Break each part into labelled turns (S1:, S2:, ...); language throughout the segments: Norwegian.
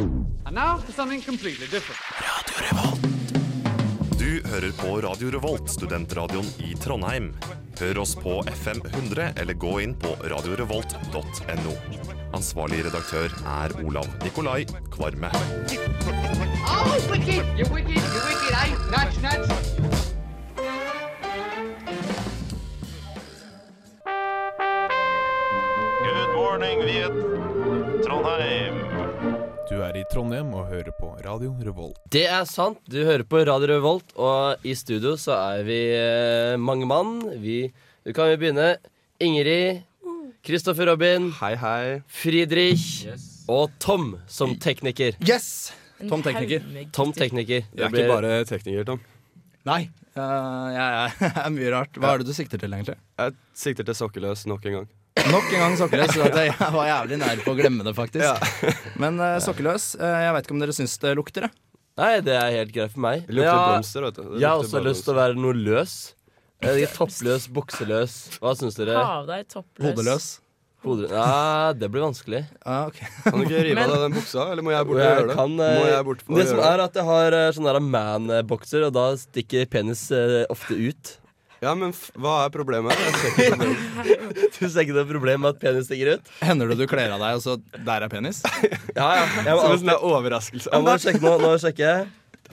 S1: And now for something completely different.
S2: Du hører på Radio Revolt, studentradioen i Trondheim. Hør oss på FM 100 eller gå inn på radiorevolt.no. Ansvarlig redaktør er Olav Nikolai Kvarme.
S1: Oh, wicked! You're wicked! You're wicked! I nudge, nudge.
S3: Good morning, Viet. Trondheim.
S4: Du er i Trondheim og hører på Radio Revolt.
S5: Det er sant. Du hører på Radio Revolt, og i studio så er vi eh, mange mann. Vi du kan jo begynne. Ingrid, Kristoffer Robin,
S4: Hei, hei.
S5: Friedrich og Tom som tekniker.
S6: Yes! Tom tekniker.
S5: Tom tekniker. Det
S4: Jeg er
S5: blir-
S4: ikke bare tekniker, Tom.
S6: Nei, eh, jeg er mye rart. Hva er det du sikter til, egentlig?
S4: Jeg sikter til sokkeløs nok en gang.
S6: Nok en gang sokkeløs. så at Jeg jeg var jævlig nær på å glemme det, faktisk. Men eh, sokkeløs, eh, jeg veit ikke om dere syns det lukter, jeg.
S5: Nei, det er helt greit for meg.
S4: Det lukter
S5: Ja, altså,
S4: blomster, vet du. Det
S5: jeg har
S4: lukter
S5: også
S4: bare
S5: lyst til å
S4: blomster.
S5: være noe løs. Eh, Toppløs, bukseløs. Hva syns
S7: Ta
S5: dere?
S7: av deg toppløs.
S6: Hodeløs.
S5: Hodet Ja, det blir vanskelig.
S6: Ah, ok.
S4: Kan du ikke rive
S7: Men-
S4: av deg den buksa, eller må jeg
S5: Og
S4: bort og
S5: jeg
S4: gjøre det?
S5: kan, eh,
S4: må jeg bort og
S5: det som
S4: gjøre
S5: er at jeg har eh, sånn der man-bokser, og da stikker penis eh, ofte ut.
S4: det? Ja, men f hva er problemet? Jeg ser ikke problemet.
S5: Du ser ikke det er problem med at penis stikker ut?
S6: Hender det du kler av deg, og så der er penis?
S5: Ja, ja. Jeg må,
S4: Som en
S5: alltid,
S4: sånn der overraskelse.
S5: jeg må sjekke nå, nå sjekker jeg.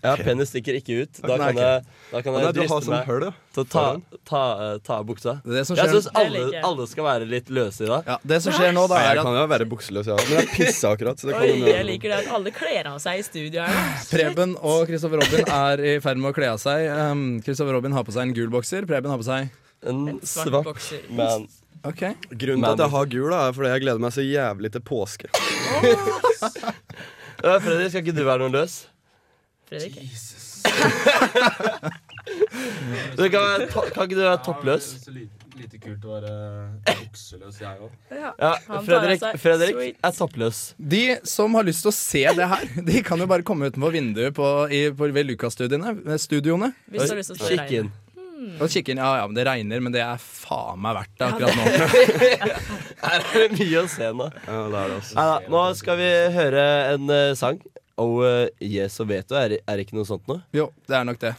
S5: Ja, penis stikker ikke ut. Da
S6: Nei,
S5: kan jeg, da kan jeg
S4: Nei, du har
S5: driste
S4: sånn
S5: meg
S4: høl, ja.
S5: til å ta, ta, eh, ta av buksa.
S6: Det er det som
S5: Jeg
S6: skjer.
S5: syns
S7: Det
S5: alle,
S7: liker jeg.
S5: alle skal være litt løse i dag.
S6: Ja, det som skjer nå, da,
S4: Nei,
S6: er
S4: jeg
S6: at
S4: kan jo være bukseløs, jeg ja. Men jeg pissa akkurat. Så det kan
S7: Oi,
S4: jo-
S7: jeg liker det at alle kler av seg i studio her.
S6: Preben og Kristoffer Robin er i ferd med å kle av seg. Um, Kristoffer Robin har på seg en gul bokser. Preben har på seg
S5: En
S7: Svart
S5: svart
S7: bokser.
S5: man.
S6: Ok
S4: Grunnen til at jeg har gul, da, er fordi jeg gleder meg så jævlig til påske.
S5: Ja, Fredrik, skal ikke du være noe løs?
S7: Fredrik.
S5: Du kan, være to, kan ikke du være toppløs?
S8: Det er så lite, lite kult å være bukseløs, jeg òg.
S5: Ja,
S7: Han tar av
S5: Fredrik,
S7: seg-
S5: Fredrik
S7: Sweet.
S5: er toppløs.
S6: De som har lyst til å se det her, de kan jo bare komme utenfor vinduet på, i, på, ved Lucas-studioene studioene,
S7: Hvis du har lyst til å stå i
S5: Kikk
S7: regnet.
S5: inn.
S6: og kikke inn. Ja, ja, men det regner, men det er faen meg verdt det akkurat nå.
S5: Her er det mye å se nå.
S4: Ja, det er det altså. også.
S5: Neida, nå skal vi høre en eh, sang. Oh, eh, yes og vet du, er, er det ikke noe sånt noe?
S6: Jo, det er nok det.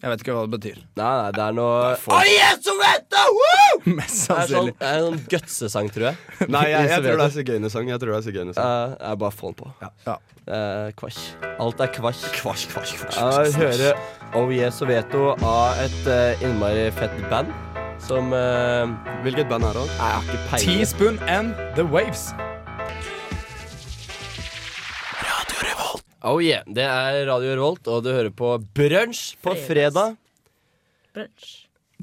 S6: Jeg vet ikke hva det betyr.
S5: Nei, nei, det er noe
S6: Mest
S5: Det er sånn,
S6: sannsynlig.
S5: det er en gutse-sang, tror jeg.
S4: Nei, jeg, jeg tror det er sigøynersang. Jeg tror det er sigøynersang.
S5: Eh, jeg bare få den på.
S6: Ja.
S5: Eh, kvasj. Alt er kvasj.
S4: Kvasj, kvasj, kvasj.
S5: Jeg hører Oh Yeah Soveto av et eh, innmari fett band som eh,
S4: Hvilket band er det?
S5: Jeg har ikke peiling.
S6: Teaspoon and The Waves.
S5: Oh yeah, Det er Radio Revolt, og du hører på Brunsj på fredag.
S7: Brunch.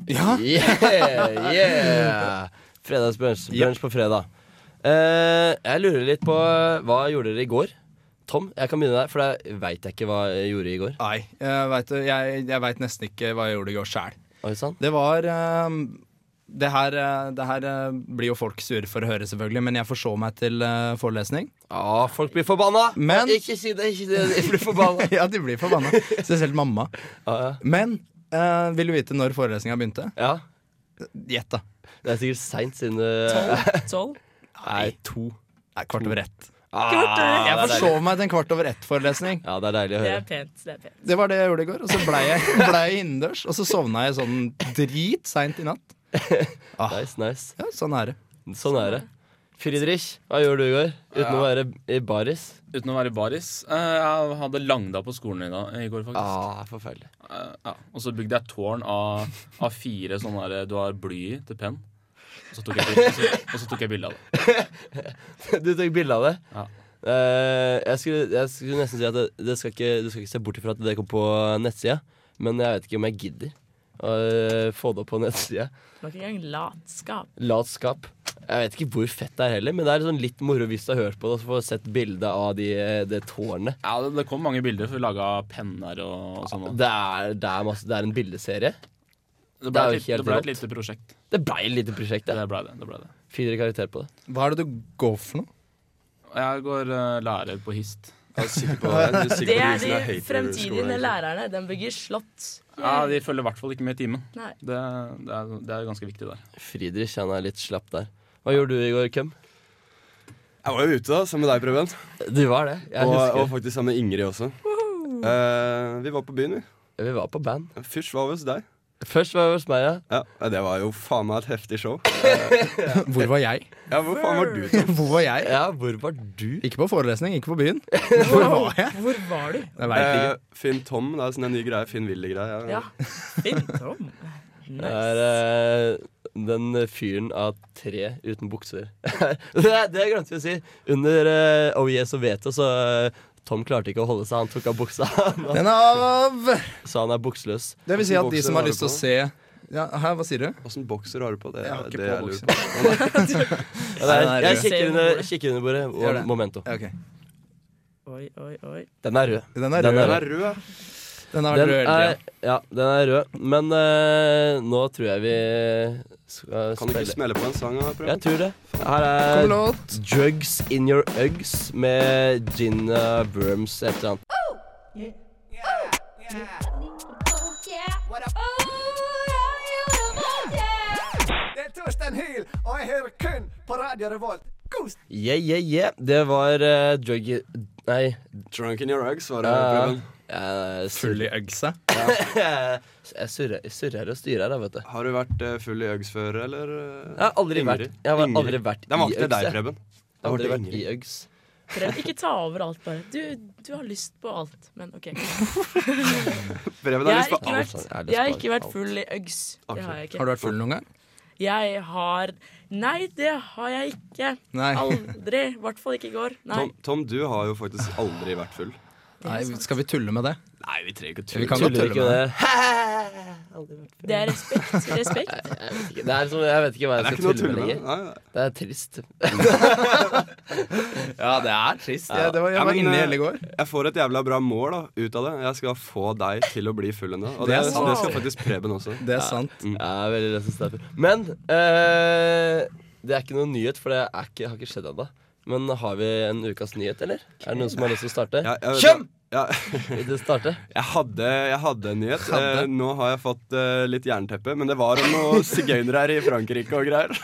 S6: Ja,
S5: Yeah, yeah. Fredagsbrunsj. Brunsj på fredag. Eh, jeg lurer litt på eh, hva gjorde dere i går? Tom, jeg kan begynne der, for jeg veit jeg ikke hva jeg gjorde i går.
S6: Nei, jeg veit jeg, jeg vet nesten ikke hva jeg gjorde i går sjæl.
S5: Oi sann.
S6: Det var ehm, det her, eh, det her eh, blir jo folk sure for å høre, selvfølgelig, men jeg forså meg til eh, forelesning.
S5: Ja, folk blir forbanna!
S6: Men-
S5: Ikke si det, ikke si det. Jeg blir forbanna.
S6: Ja, de blir forbanna. Spesielt mamma.
S5: Ja, ja.
S6: Men eh, vil du vite når forelesninga begynte?
S5: ja.
S6: Gjett, da.
S5: Det er sikkert seint siden du
S7: Tolv.
S5: Nei, to.
S6: Nei, kvart over ett.
S5: Ah,
S6: Jeg forså meg til en kvart over ett-forelesning.
S5: Ja, det er deilig å
S7: Det
S5: høre.
S7: er pent. Det er pent.
S6: Det var det jeg gjorde i går. Og så blei jeg, ble jeg innendørs, og så sovna jeg sånn dritseint i natt.
S5: Nice, nice.
S6: Ja, sånn er det.
S5: Sånn er det. Friedrich, hva gjorde du i går? Uten å være i baris?
S8: Uten å være baris. eh, Jeg hadde langdag på skolen i, dag, i går, faktisk.
S5: Ah, forferdelig.
S8: Eh, Ja. Og så bygde jeg tårn av, av fire sånne der du har bly i til penn. Og så tok jeg, bild- og så, og så tok jeg bilde av det.
S5: Du tok bilde av det?
S8: Ja.
S5: Eh, jeg, skulle, jeg skulle nesten si at det, det skal ikke, du skal ikke se bort ifra at det kom på nettsida, men jeg vet ikke om jeg gidder å eh, få det opp på nettsida.
S7: Det var ikke engang latskap.
S5: Latskap. Jeg vet ikke hvor fett det er heller, men det er sånn litt moro hvis du har hørt på det og så får sett bilde av de, eh, det tårnet.
S8: Ja, det, det kom mange bilder, for vi laga penner og, og sånn. og-
S5: Det er, det, er masse, det er en bildeserie.
S8: Det
S5: det
S8: ble,
S5: er
S8: et,
S5: jo
S8: lite-
S5: helt
S8: det ble et
S5: rått.
S8: lite prosjekt.
S5: Det blei et lite prosjekt.
S8: Det
S5: Det.
S8: ble det. det, ble det.
S5: Finere karakter på det.
S6: Hva er det du går for noe?
S8: Jeg går eh, lærer på hist.
S4: Jeg er sikker på jeg er sikker
S7: Det
S4: på
S7: er
S4: som
S7: de
S4: hater skolen,
S7: fremtidige
S4: egentlig.
S7: lærerne. De bygger slott.
S8: Ja, De følger i hvert fall ikke med i timen.
S7: Nei.
S8: Det, det, er, det er ganske viktig der.
S5: Friedrich han er litt slapp der. Hva gjorde du i går, Køm?
S4: Jeg var jo ute, da, sammen med deg, Preben.
S5: Du var det. Jeg
S4: Og,
S5: husker
S4: og faktisk sammen med Ingrid også. Eh, vi var på byen, vi.
S5: Vi var på band.
S4: Fyrst var vi hos deg.
S5: Først var jeg hos meg, ja.
S4: Ja, Det var jo faen meg et heftig show.
S6: Hvor var jeg?
S4: Ja, Hvor faen var du? Tom?
S6: Hvor var jeg?
S5: Ja, hvor var du?
S6: Ikke på forelesning, ikke på byen. Hvor var jeg?
S7: Hvor var du?
S6: Jeg vet ikke.
S4: Eh, Finn Tom, det er sånn en ny greie. Finn Willy-greie.
S7: Ja. Fint rom.
S5: Det er eh, den fyren av tre uten bukser. det, det glemte vi å si. Under eh, Oh Yes og Veto så eh, Tom klarte ikke å holde seg, han tok av buksa. Han-
S6: Den er av
S5: så han er bukseløs.
S6: Det vil si at de
S4: Bokser
S6: som har
S4: har du
S6: lyst til å
S4: på?
S6: se ja, Hæ, hva sier du?
S4: Åssen bokser har du på? Det,
S6: Jeg har ikke på
S4: det jeg lurer
S6: bokser.
S4: på.
S5: Ja, det er,
S6: Nei, den er
S5: jeg
S6: rød.
S5: kikker under, kikker under bordet.
S6: Gjør det.
S5: Og momento.
S6: Ja, Ok,
S7: Oi, oi, oi.
S5: Den er rød.
S6: Den er
S5: Den
S6: rød.
S5: er
S4: Den er rød.
S6: Den er
S5: Den
S6: rød. hele
S5: er,
S6: tiden.
S5: ja, den er rød. Men eh, nå tror jeg vi skal
S4: Kan du ikke
S5: spille.
S4: smelle på en sang? her, Preben?
S5: Jeg tror det. Her
S6: Kom
S5: er
S6: låt.
S5: Drugs In Your Uggs med Gina Burms et eller annet. Yeah, yeah, yeah. Det var eh, drug... Nei.
S4: Drunk in your eggs, var det,
S5: eh,
S4: Preben.
S5: jeg
S6: Full
S5: surrer-
S6: i øgsa.
S5: jeg surrer jeg surrer og styrer her, vet du.
S4: Har du vært eh, full i øggs før, eller? eh?
S5: Jeg har aldri vært, jeg har aldri vært
S4: Den var
S5: i
S4: ikke til
S5: Uggs,
S4: deg,
S5: jeg.
S4: Preben.
S5: Jeg har aldri vært i
S4: Ingrid.
S5: Uggs.
S7: Prøv ikke ta over alt, bare. Du, du har lyst på alt, men OK.
S4: Preben
S7: Jeg
S4: har
S7: har
S4: lyst på
S7: ikke
S4: alt.
S7: vært, jeg har ikke vært full i Uggs. Det har jeg
S6: Har
S7: ikke.
S6: du vært full noen gang?
S7: Jeg har Nei, det har jeg ikke.
S6: Nei.
S7: Aldri. I hvert fall ikke i går. Nei.
S4: Tom, Tom, du har jo faktisk aldri vært full.
S6: Nei, skal vi tulle med det?
S4: Nei, vi trenger ikke å
S6: Vi kan godt
S5: Tuller ikke
S6: tulle med
S5: med
S6: det.
S5: det.
S7: Det er respekt. Respekt.
S5: Det er som, jeg vet ikke hva
S4: Det
S5: jeg
S4: er ikke
S5: skal
S4: noe å
S5: tulle med
S4: tulle med.
S5: lenger.
S4: Nei, nei.
S5: Det er trist.
S6: Ja, det er trist. Jeg, det var, jeg
S4: Ja,
S6: var
S4: men,
S6: inne i
S4: eh,
S6: hele går.
S4: Jeg får et jævla bra mål da, ut av det. Jeg skal få deg til å bli full en dag. Og
S6: Det
S4: det,
S6: er
S4: det,
S6: sant.
S4: skal faktisk Preben også.
S6: Det er sant.
S5: Jeg er veldig lett å snappe. Men eh, det er ikke noen nyhet, for det er ikke, har ikke skjedd ennå. Men har vi en ukas nyhet, eller? Er det noen som har lyst til å starte?
S4: Ja, jeg vet
S5: Kjøm!
S4: Ja,
S5: Vil du starte?
S4: jeg, hadde, jeg hadde en nyhet.
S6: Hadde?
S4: Eh, nå har jeg fått eh, litt jernteppe, men det var om noen sigøynere her i Frankrike og greier.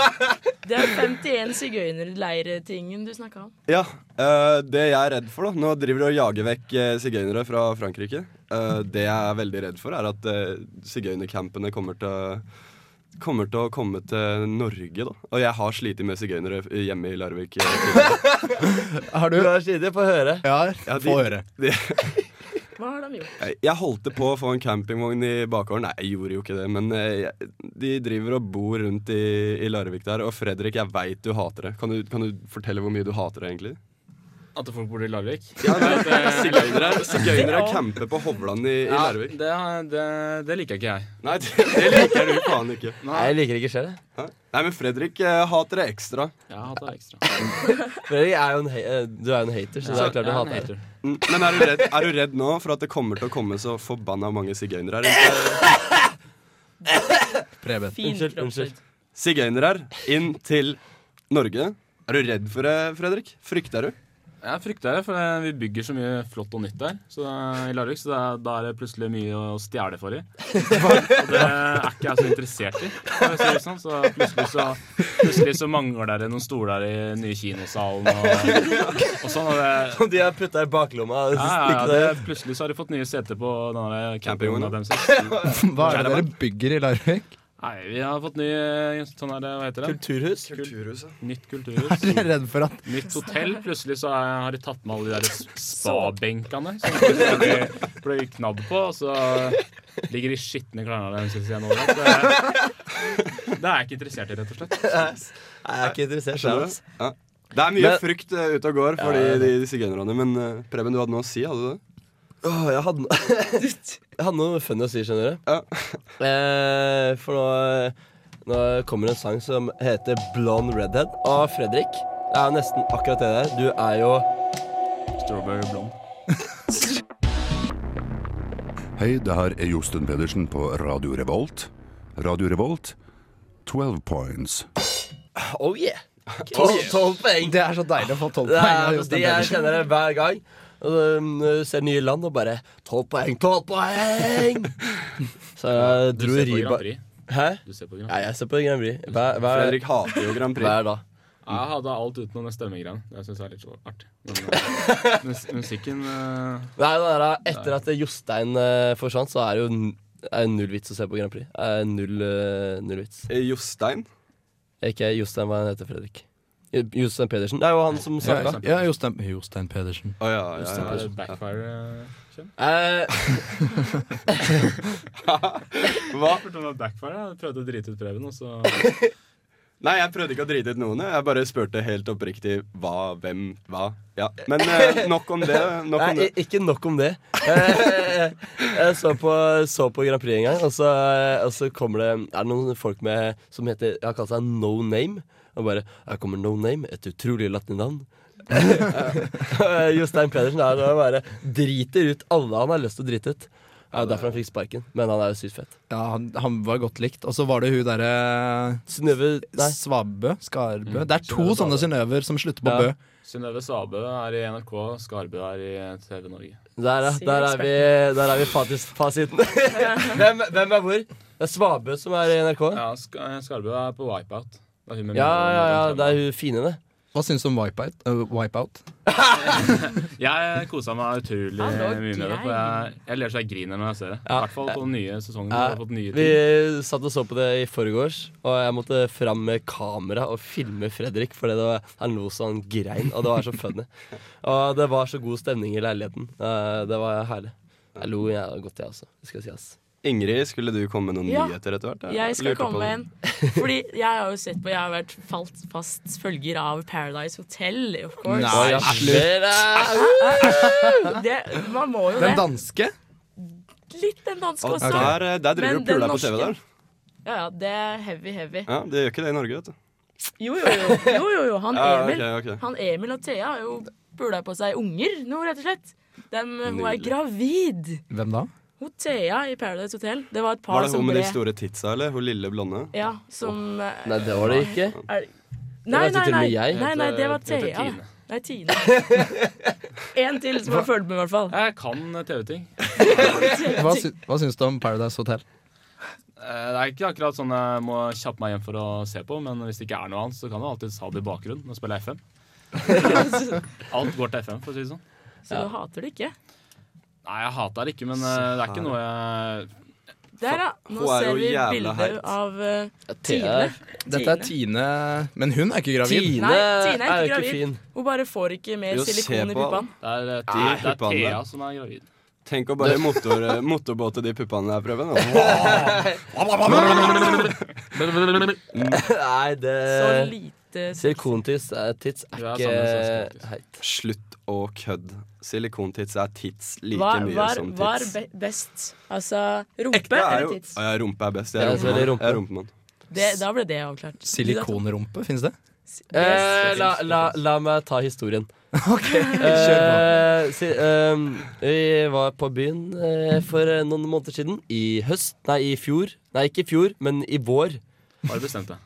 S7: Det er 51 sigøynerleiretingen du snakka om.
S4: Ja, eh, Det jeg er redd for, da Nå driver de og jager vekk eh, sigøynere fra Frankrike. Eh, det jeg er veldig redd for, er at eh, sigøynercampene kommer til å Kommer til å komme til Norge, da. Og jeg har slitt med sigøynere hjemme i Larvik. eh, tidligere.
S6: Har
S5: Du
S6: du?
S5: har slitt, få høre.
S6: Ja,
S4: Ja, de-
S6: få høre.
S7: Hva har de gjort?
S4: Jeg- Eh, Jeg holdt på å få en campingvogn i bakgården. Nei, jeg gjorde jo ikke det, men eh, jeg, de driver og bor rundt i, i Larvik der. Og Fredrik, jeg veit du hater det. Kan du, kan du fortelle hvor mye du hater det, egentlig?
S9: At folk bor i Larvik?
S4: Sigøynere, sigøynere camper på Hovland i, i
S9: Ja,
S4: Larvik.
S9: det, det, det liker ikke jeg.
S4: Nei, det, det liker du faen ikke.
S5: Nei, jeg liker ikke selv. jeg.
S4: Hæ? Nei, men Fredrik eh, hater det ekstra.
S9: Jeg har hatt det ekstra.
S5: Fredrik er jo en, ha- eh, du er jo en hater, så det er klart du
S9: Jeg er en
S5: hater det.
S9: hater.
S4: Mm, Men er du, redd, er du redd nå for at det kommer til å komme så forbanna mange sigøynere her?
S6: Preben.
S7: Fin
S5: Unnskyld,
S7: kroppslyd.
S4: Sigøynere her, inn til Norge. Er du redd for det, Fredrik? Frykter du?
S9: Jeg frykter det, for eh, vi bygger så mye flott og nytt der så, eh, i Larvik. Så det er, da er det plutselig mye å stjele for i. Og det er ikke jeg så interessert i. for å si det sånn. Så plutselig så, plutselig så mangler det noen stoler i den nye kinosalen og, og sånn. Og det,
S5: Som de har putta i baklomma.
S9: ja, ja, det, plutselig så har de fått nye seter på denne campingvogna deres.
S6: Hva er det dere bygger i Larvik?
S9: Nei, vi har fått nye sånn her, hva heter det?
S5: Kulturhus.
S9: Nytt kulturhus.
S6: Jeg er redd for at
S9: Nytt hotell. Plutselig så er, har de tatt med alle de der s- spabenkene som plutselig ble, ble knadd på, og så ligger de skitne klærne deres igjen overalt. Det er det er jeg ikke interessert i, rett og slett.
S5: Nei, jeg er ikke interessert.
S4: Skjønner
S5: Jeg,
S4: du? Ja. Det er mye
S5: Men-
S4: frykt eh, ute og går for de, de, de sigøynerne, men eh, Preben, du hadde noe å si, hadde du det?
S5: Åh, Ah, jeg, hadde, no- jeg hadde noe funny å si, skjønner du.
S4: Ja.
S5: Eh, for nå, nå kommer det en sang som heter Blonde Redhead av Fredrik. Det er jo nesten akkurat det der. Du er jo
S9: Strawberry blond.
S2: Hei, det her er Josten Pedersen på Radio Revolt. Radio Revolt, 12 points.
S5: Oh yeah! Tolv tolv poeng.
S6: Det er så deilig å få tolv
S5: Det
S6: poeng av
S5: er,
S6: Jostein
S5: de jeg
S6: Pedersen.
S5: kjenner det hver gang. Um, ser nye land og bare 'Tolv poeng, tolv poeng!' Så jeg
S9: Du
S5: dro
S9: ser på Grand
S5: Riba
S9: Prix.
S5: Hæ?
S9: Du ser på Grand Prix.
S5: Nei, jeg ser på Grand Prix hver, hver,
S4: Fredrik hater jo Grand Prix.
S5: hver dag.
S9: Ja,
S8: Jeg hadde alt utenom den stemmegreien. Det syns jeg er litt så artig. Men, eh, mus musikken eh,
S5: Nei, det er, da- etter at Jostein eh, forsvant, så er det jo n- er det null vits å se på Grand Prix. Er null, eh, null vits.
S4: Eh, Jostein.
S5: Ikke Jostein, hva han heter Fredrik? Jo- Jostein Pedersen. Det er jo han som snakka.
S8: Jostein.
S6: Ja, Jostein, Jostein Pedersen.
S4: Å ja, ja, ja.
S8: er backfire. eh, kjent.
S5: Eh,
S4: Hva?
S8: Jeg spurte om det var backfire. Jeg prøvde å drite ut Preben, og så
S4: Nei, jeg prøvde ikke å drite ut noen. jeg. Jeg bare spurte helt oppriktig hva, hvem, hva. Ja. Men eh, nok om det. Nok
S5: Nei,
S4: om det.
S5: i- ikke nok om det. Eh, Jeg så på, så på Grand Prix en gang, og så, eh, og så kommer det Er det noen folk med som heter Jeg har kalt seg No Name. Og bare Her kommer No Name, et utrolig latinavn. Eh, Jostein Pedersen er og bare driter ut alle han har lyst til å drite ut. Det er jo derfor han fikk sparken, men han er jo sykt fett.
S6: Ja, han, han var godt likt. Og så var det hun derre
S5: Synnøve Nei.
S6: Svabø? Mm. Skarbø? Det er to
S8: Synnøve
S6: sånne synnøver som slutter på
S5: Ja.
S6: bø.
S8: Synnøve Sabø er i NRK, Skarbø er i TV Norge.
S5: Der, er-
S7: Syv
S5: der er vi, der er vi fatis, fasiten. hvem, hvem er hvor? Det er Svabø som er i NRK.
S8: Ja, Sk eh, Skarbø er på Wipeout. Det er hun med
S5: Ja,
S8: Mjølner-
S5: ja, ja. Det er hun fine, det.
S6: Hva syns du om Wipeout? Øh, wipeout?
S8: Jeg kosa meg utrolig
S7: Han lå
S8: mye med det. For jeg, jeg ler så jeg griner når jeg ser det. I
S5: Ja.
S8: hvert fall på den nye sesongen.
S5: Ja,
S8: Jeg har fått nye ting.
S5: Vi satt og så på det i forgårs, og jeg måtte fram med kamera og filme Fredrik, fordi det var, han lo så han grein, og det var så funny. Og det var så god stemning i leiligheten. Eh, Det var herlig. Jeg lo jeg godt, jeg også. Det skal sies.
S4: Ingrid, skulle du komme med noen
S7: Ja.
S4: nyheter etter hvert?
S7: Jeg skal
S4: lurte på
S7: komme med
S4: det.
S7: en. Fordi jeg har jo sett på Jeg har vært falt fast følger av Paradise Hotel, of course.
S6: Nei,
S7: Det, man må jo det.
S6: Den danske?
S7: Litt den danske
S4: Og
S7: også.
S4: der, eh, der driver
S7: Men
S4: du og puler
S7: den
S4: deg på TV der.
S7: norske- Ja, ja, det er heavy, heavy.
S4: Ja, Det gjør ikke det i Norge, vet du.
S7: Jo, jo, jo. jo, jo, jo. Han,
S4: Ja,
S7: Emil,
S4: ok, ok.
S7: han Emil og Thea har jo pula på seg unger nå, rett og slett. Dem, hun er
S4: Nydelig.
S7: gravid.
S6: Hvem da?
S7: Hun Thea i Paradise Hotel. Det var et par
S4: Var det
S7: som
S4: hun med
S7: ble
S4: de store titsa, eller? Hun lille blonde?
S7: Ja, som eh,
S5: Nei, det var det ikke.
S7: er, Nei,
S5: vet
S7: nei,
S5: til og
S7: nei.
S5: med jeg.
S7: nei, nei, det var
S8: Jeg heter
S7: Thea.
S8: Tine.
S7: Nei, Tine. En til som har fulgt med, i hvert fall.
S8: Jeg kan eh, TV-ting.
S6: Hva, sy hva syns du om Paradise Hotel?
S8: Eh, Det er ikke akkurat sånn jeg må kjappe meg hjem for å se på, men hvis det ikke er noe annet, så kan du alltid ha det i bakgrunnen og spille FM. Alt går til FM, for å si det sånn.
S7: Så du hater det ikke.
S8: Nei, jeg hater det ikke, men eh, det er ikke noe jeg
S7: Der, ja.
S4: Hun
S7: Nå
S4: er
S7: ser
S4: jo
S7: vi
S4: jævla
S7: bilder
S4: heit.
S7: av eh,
S5: Thea
S7: Tine.
S5: er-
S6: Dette er Tine Men hun er ikke gravid.
S5: Tine
S7: Nei, Tine
S5: er
S7: er
S5: jo
S7: ikke
S5: ikke fin.
S7: gravid. Hun bare får ikke mer
S4: Jo, se
S7: silikon i
S4: på
S7: puppene.
S8: Det er, eh,
S4: Nei,
S8: Thea- det
S4: puppene.
S8: er Thea som er gravid.
S4: Tenk å bare motor, motorbåte de puppene der, Preben. da.
S5: Nei, det
S7: Så lite
S5: Silikontiss eh, tits er
S8: Ja,
S5: ikke
S8: samme som
S5: heit.
S4: Slutt å kødde. Silikontits er tits like
S7: Hva
S4: mye sånn
S7: var,
S4: som
S7: var
S4: tits.
S7: be best? Altså rumpe
S4: Det er
S7: eller
S4: jo,
S7: tits?
S4: ja, rumpe er best. Jeg
S5: Ja,
S4: er
S5: så er det
S4: rumpemann.
S5: rumpe.
S4: Jeg er rumpemann.
S7: Det, da ble det avklart.
S6: Silikonrumpe, finnes det?
S5: Eh, la, la, la meg ta historien. Eh, si, ehm, vi var på byen eh, for eh, noen måneder siden. I høst. Nei, i fjor. Nei, ikke i fjor, men i vår.
S8: Har du bestemt deg?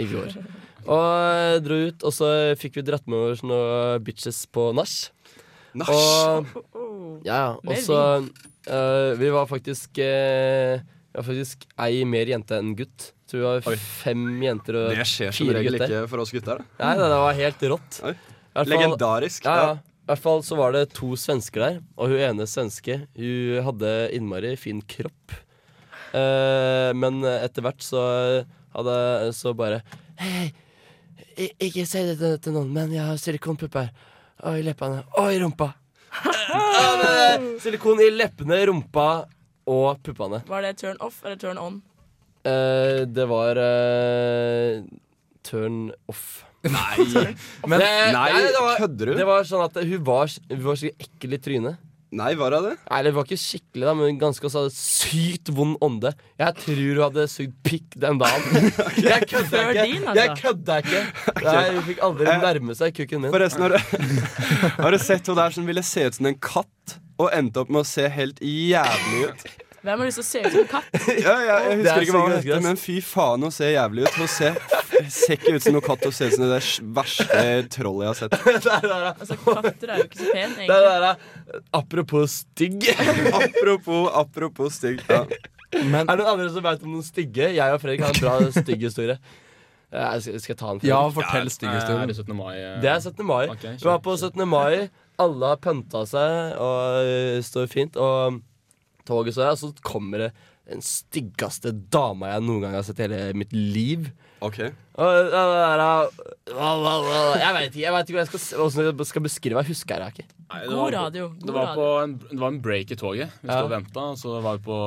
S5: I fjor. Og eh, dro ut, og så fikk vi dratt med oss noen bitches på nach. Og, ja, ja. Og
S7: Med
S5: så eh, Vi var faktisk eh, Vi var faktisk ei mer jente enn gutt. Så vi var fem jenter og
S4: Det skjer som
S5: fire
S4: regel
S5: gutter.
S4: ikke for oss gutter. da.
S5: Nei, nei, det var helt rått.
S4: Oi.
S5: I hvert fall-
S4: Legendarisk.
S5: Ja, ja.
S4: Ja.
S5: I hvert fall så var det to svensker der, og hun ene svenske Hun hadde innmari fin kropp. Eh, men etter hvert så hadde Så bare Hei, hei, i- ikke si det til- til noen, men jeg har silikonpupper. Og i leppene. Og i rumpa. Ja, men, eh, Silikon i leppene, rumpa og puppene.
S7: Var det turn off eller turn on?
S5: Eh, det var eh, turn off.
S4: Nei,
S5: Men, det,
S4: nei,
S5: det var,
S4: kødder
S5: det
S4: du?
S5: var sånn at hun var, hun var skikkelig ekkel i trynet.
S4: Nei, var det det?
S5: Nei, det var ikke skikkelig, da, men ganske også hadde sykt vond ånde. Jeg tror hun hadde sugd pikk den dagen. Jeg kødda
S7: Før
S5: ikke!
S7: din,
S5: Jeg
S7: altså.
S5: kødda ikke. Nei, hun fikk aldri nærme seg kukken min.
S4: Forresten, har du, har du sett hun der som ville se ut som en katt, og endte opp med å se helt jævlig ut?
S7: Hvem har lyst til å se ut som en katt?
S4: Ja, ja, jeg
S5: Det er
S4: husker ikke hva hun
S5: sikkert
S4: heter,
S5: greit.
S4: men fy faen, hun ser jævlig ut. Hun ser, ser ikke ut som noen katt, hun ser ut som det der verste trollet jeg har sett.
S5: Der, der, der.
S7: Altså, katter er jo ikke så pen,
S5: Der,
S7: egentlig.
S5: der, der. Apropos stygg. Er
S4: Apropos, apropos stygg. Ja.
S5: det noen andre som veit om noen stygge? Jeg og Fredrik har en bra stygghistorie. Eh, skal skal jeg ta den før?
S6: Ja, fortell stygghistorien.
S8: Er det 17. mai? eh?
S5: Det er 17. mai.
S8: Ok,
S5: Vi var på 17. mai. Alle har pønta seg og eh, står fint. Og toget så er, og så kommer det den styggeste dama jeg noen gang har sett i hele mitt liv.
S4: Ok.
S5: Og det der, eh, la, la, la, la. Jeg veit ikke jeg vet ikke hva jeg skal, hvordan jeg skal beskrive meg. Husker jeg det ikke.
S8: Nei, det var
S7: God
S8: på-
S7: radio.
S8: Det
S7: God
S8: var,
S7: radio.
S8: på en, det var en break i toget. Vi
S5: Ja.
S8: sto og venta, og så var vi på,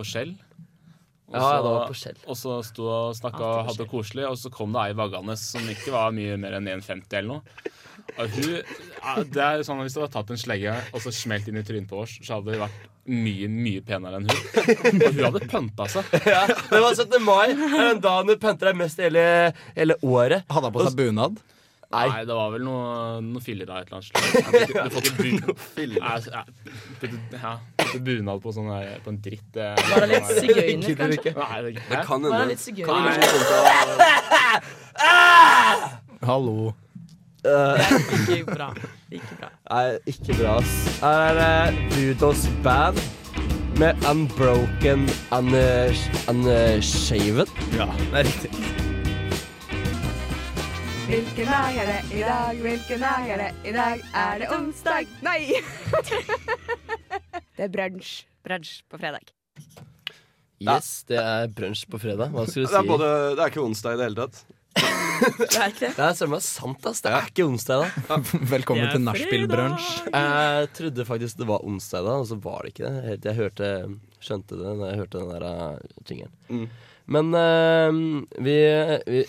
S8: på Skjell. Og
S5: Ja,
S8: så-
S5: det var på Skjell.
S8: Og så sto og snakka og
S7: Alltid på
S8: hadde det
S7: Skjell.
S8: koselig, og så kom det ei vaggende som ikke var mye mer enn 1,50 eller noe. Og hun, ja, det er jo sånn at Hvis du hadde tatt en slegge og så smelt inn i trynet på oss, så hadde vi vært mye mye penere enn hun. Og hun hadde pønta seg.
S5: Ja, det var 17. mai. Det er den dagen du pønter deg mest i hele, hele året.
S6: Hadde han på seg bunad?
S5: Nei.
S8: Nei, det var vel noe, noe filler av et eller annet slag. Du får ikke bu- Nei, så- ja, putte- ja, putte bunad på, sånn, der- på en dritt. det-
S7: Var det litt
S8: Nei,
S7: sigøyner, kanskje?
S8: det, det
S4: Kan
S7: Var det
S4: hende.
S7: litt sigøyner?
S6: Hallo.
S7: Det gikk bra. Det gikk bra.
S5: Nei, ikke bra, ass. Her er det Budos Band med Unbroken Unshaven. Un unshaven.
S8: Ja.
S5: det er riktig.
S9: Hvilken dag er det i dag? Hvilken dag er det i dag? Er det onsdag? Nei! det er brunsj. Brunsj på fredag.
S5: Yes, det er brunsj på fredag. Hva skulle du
S4: Det
S5: si?
S4: er, både, det er ikke onsdag i det hele tatt.
S7: Det er ikke det.
S5: Det er søren meg sant, ass. Det er ikke onsdag, da.
S6: Velkommen
S7: Det er
S6: til nachspiel-brunsj.
S5: Jeg trodde faktisk det var onsdag, da, og så var det ikke det. Helt til Jeg hørte, skjønte det da jeg hørte den der eh, jingeren.
S4: Mm.
S5: Men eh, vi, vi,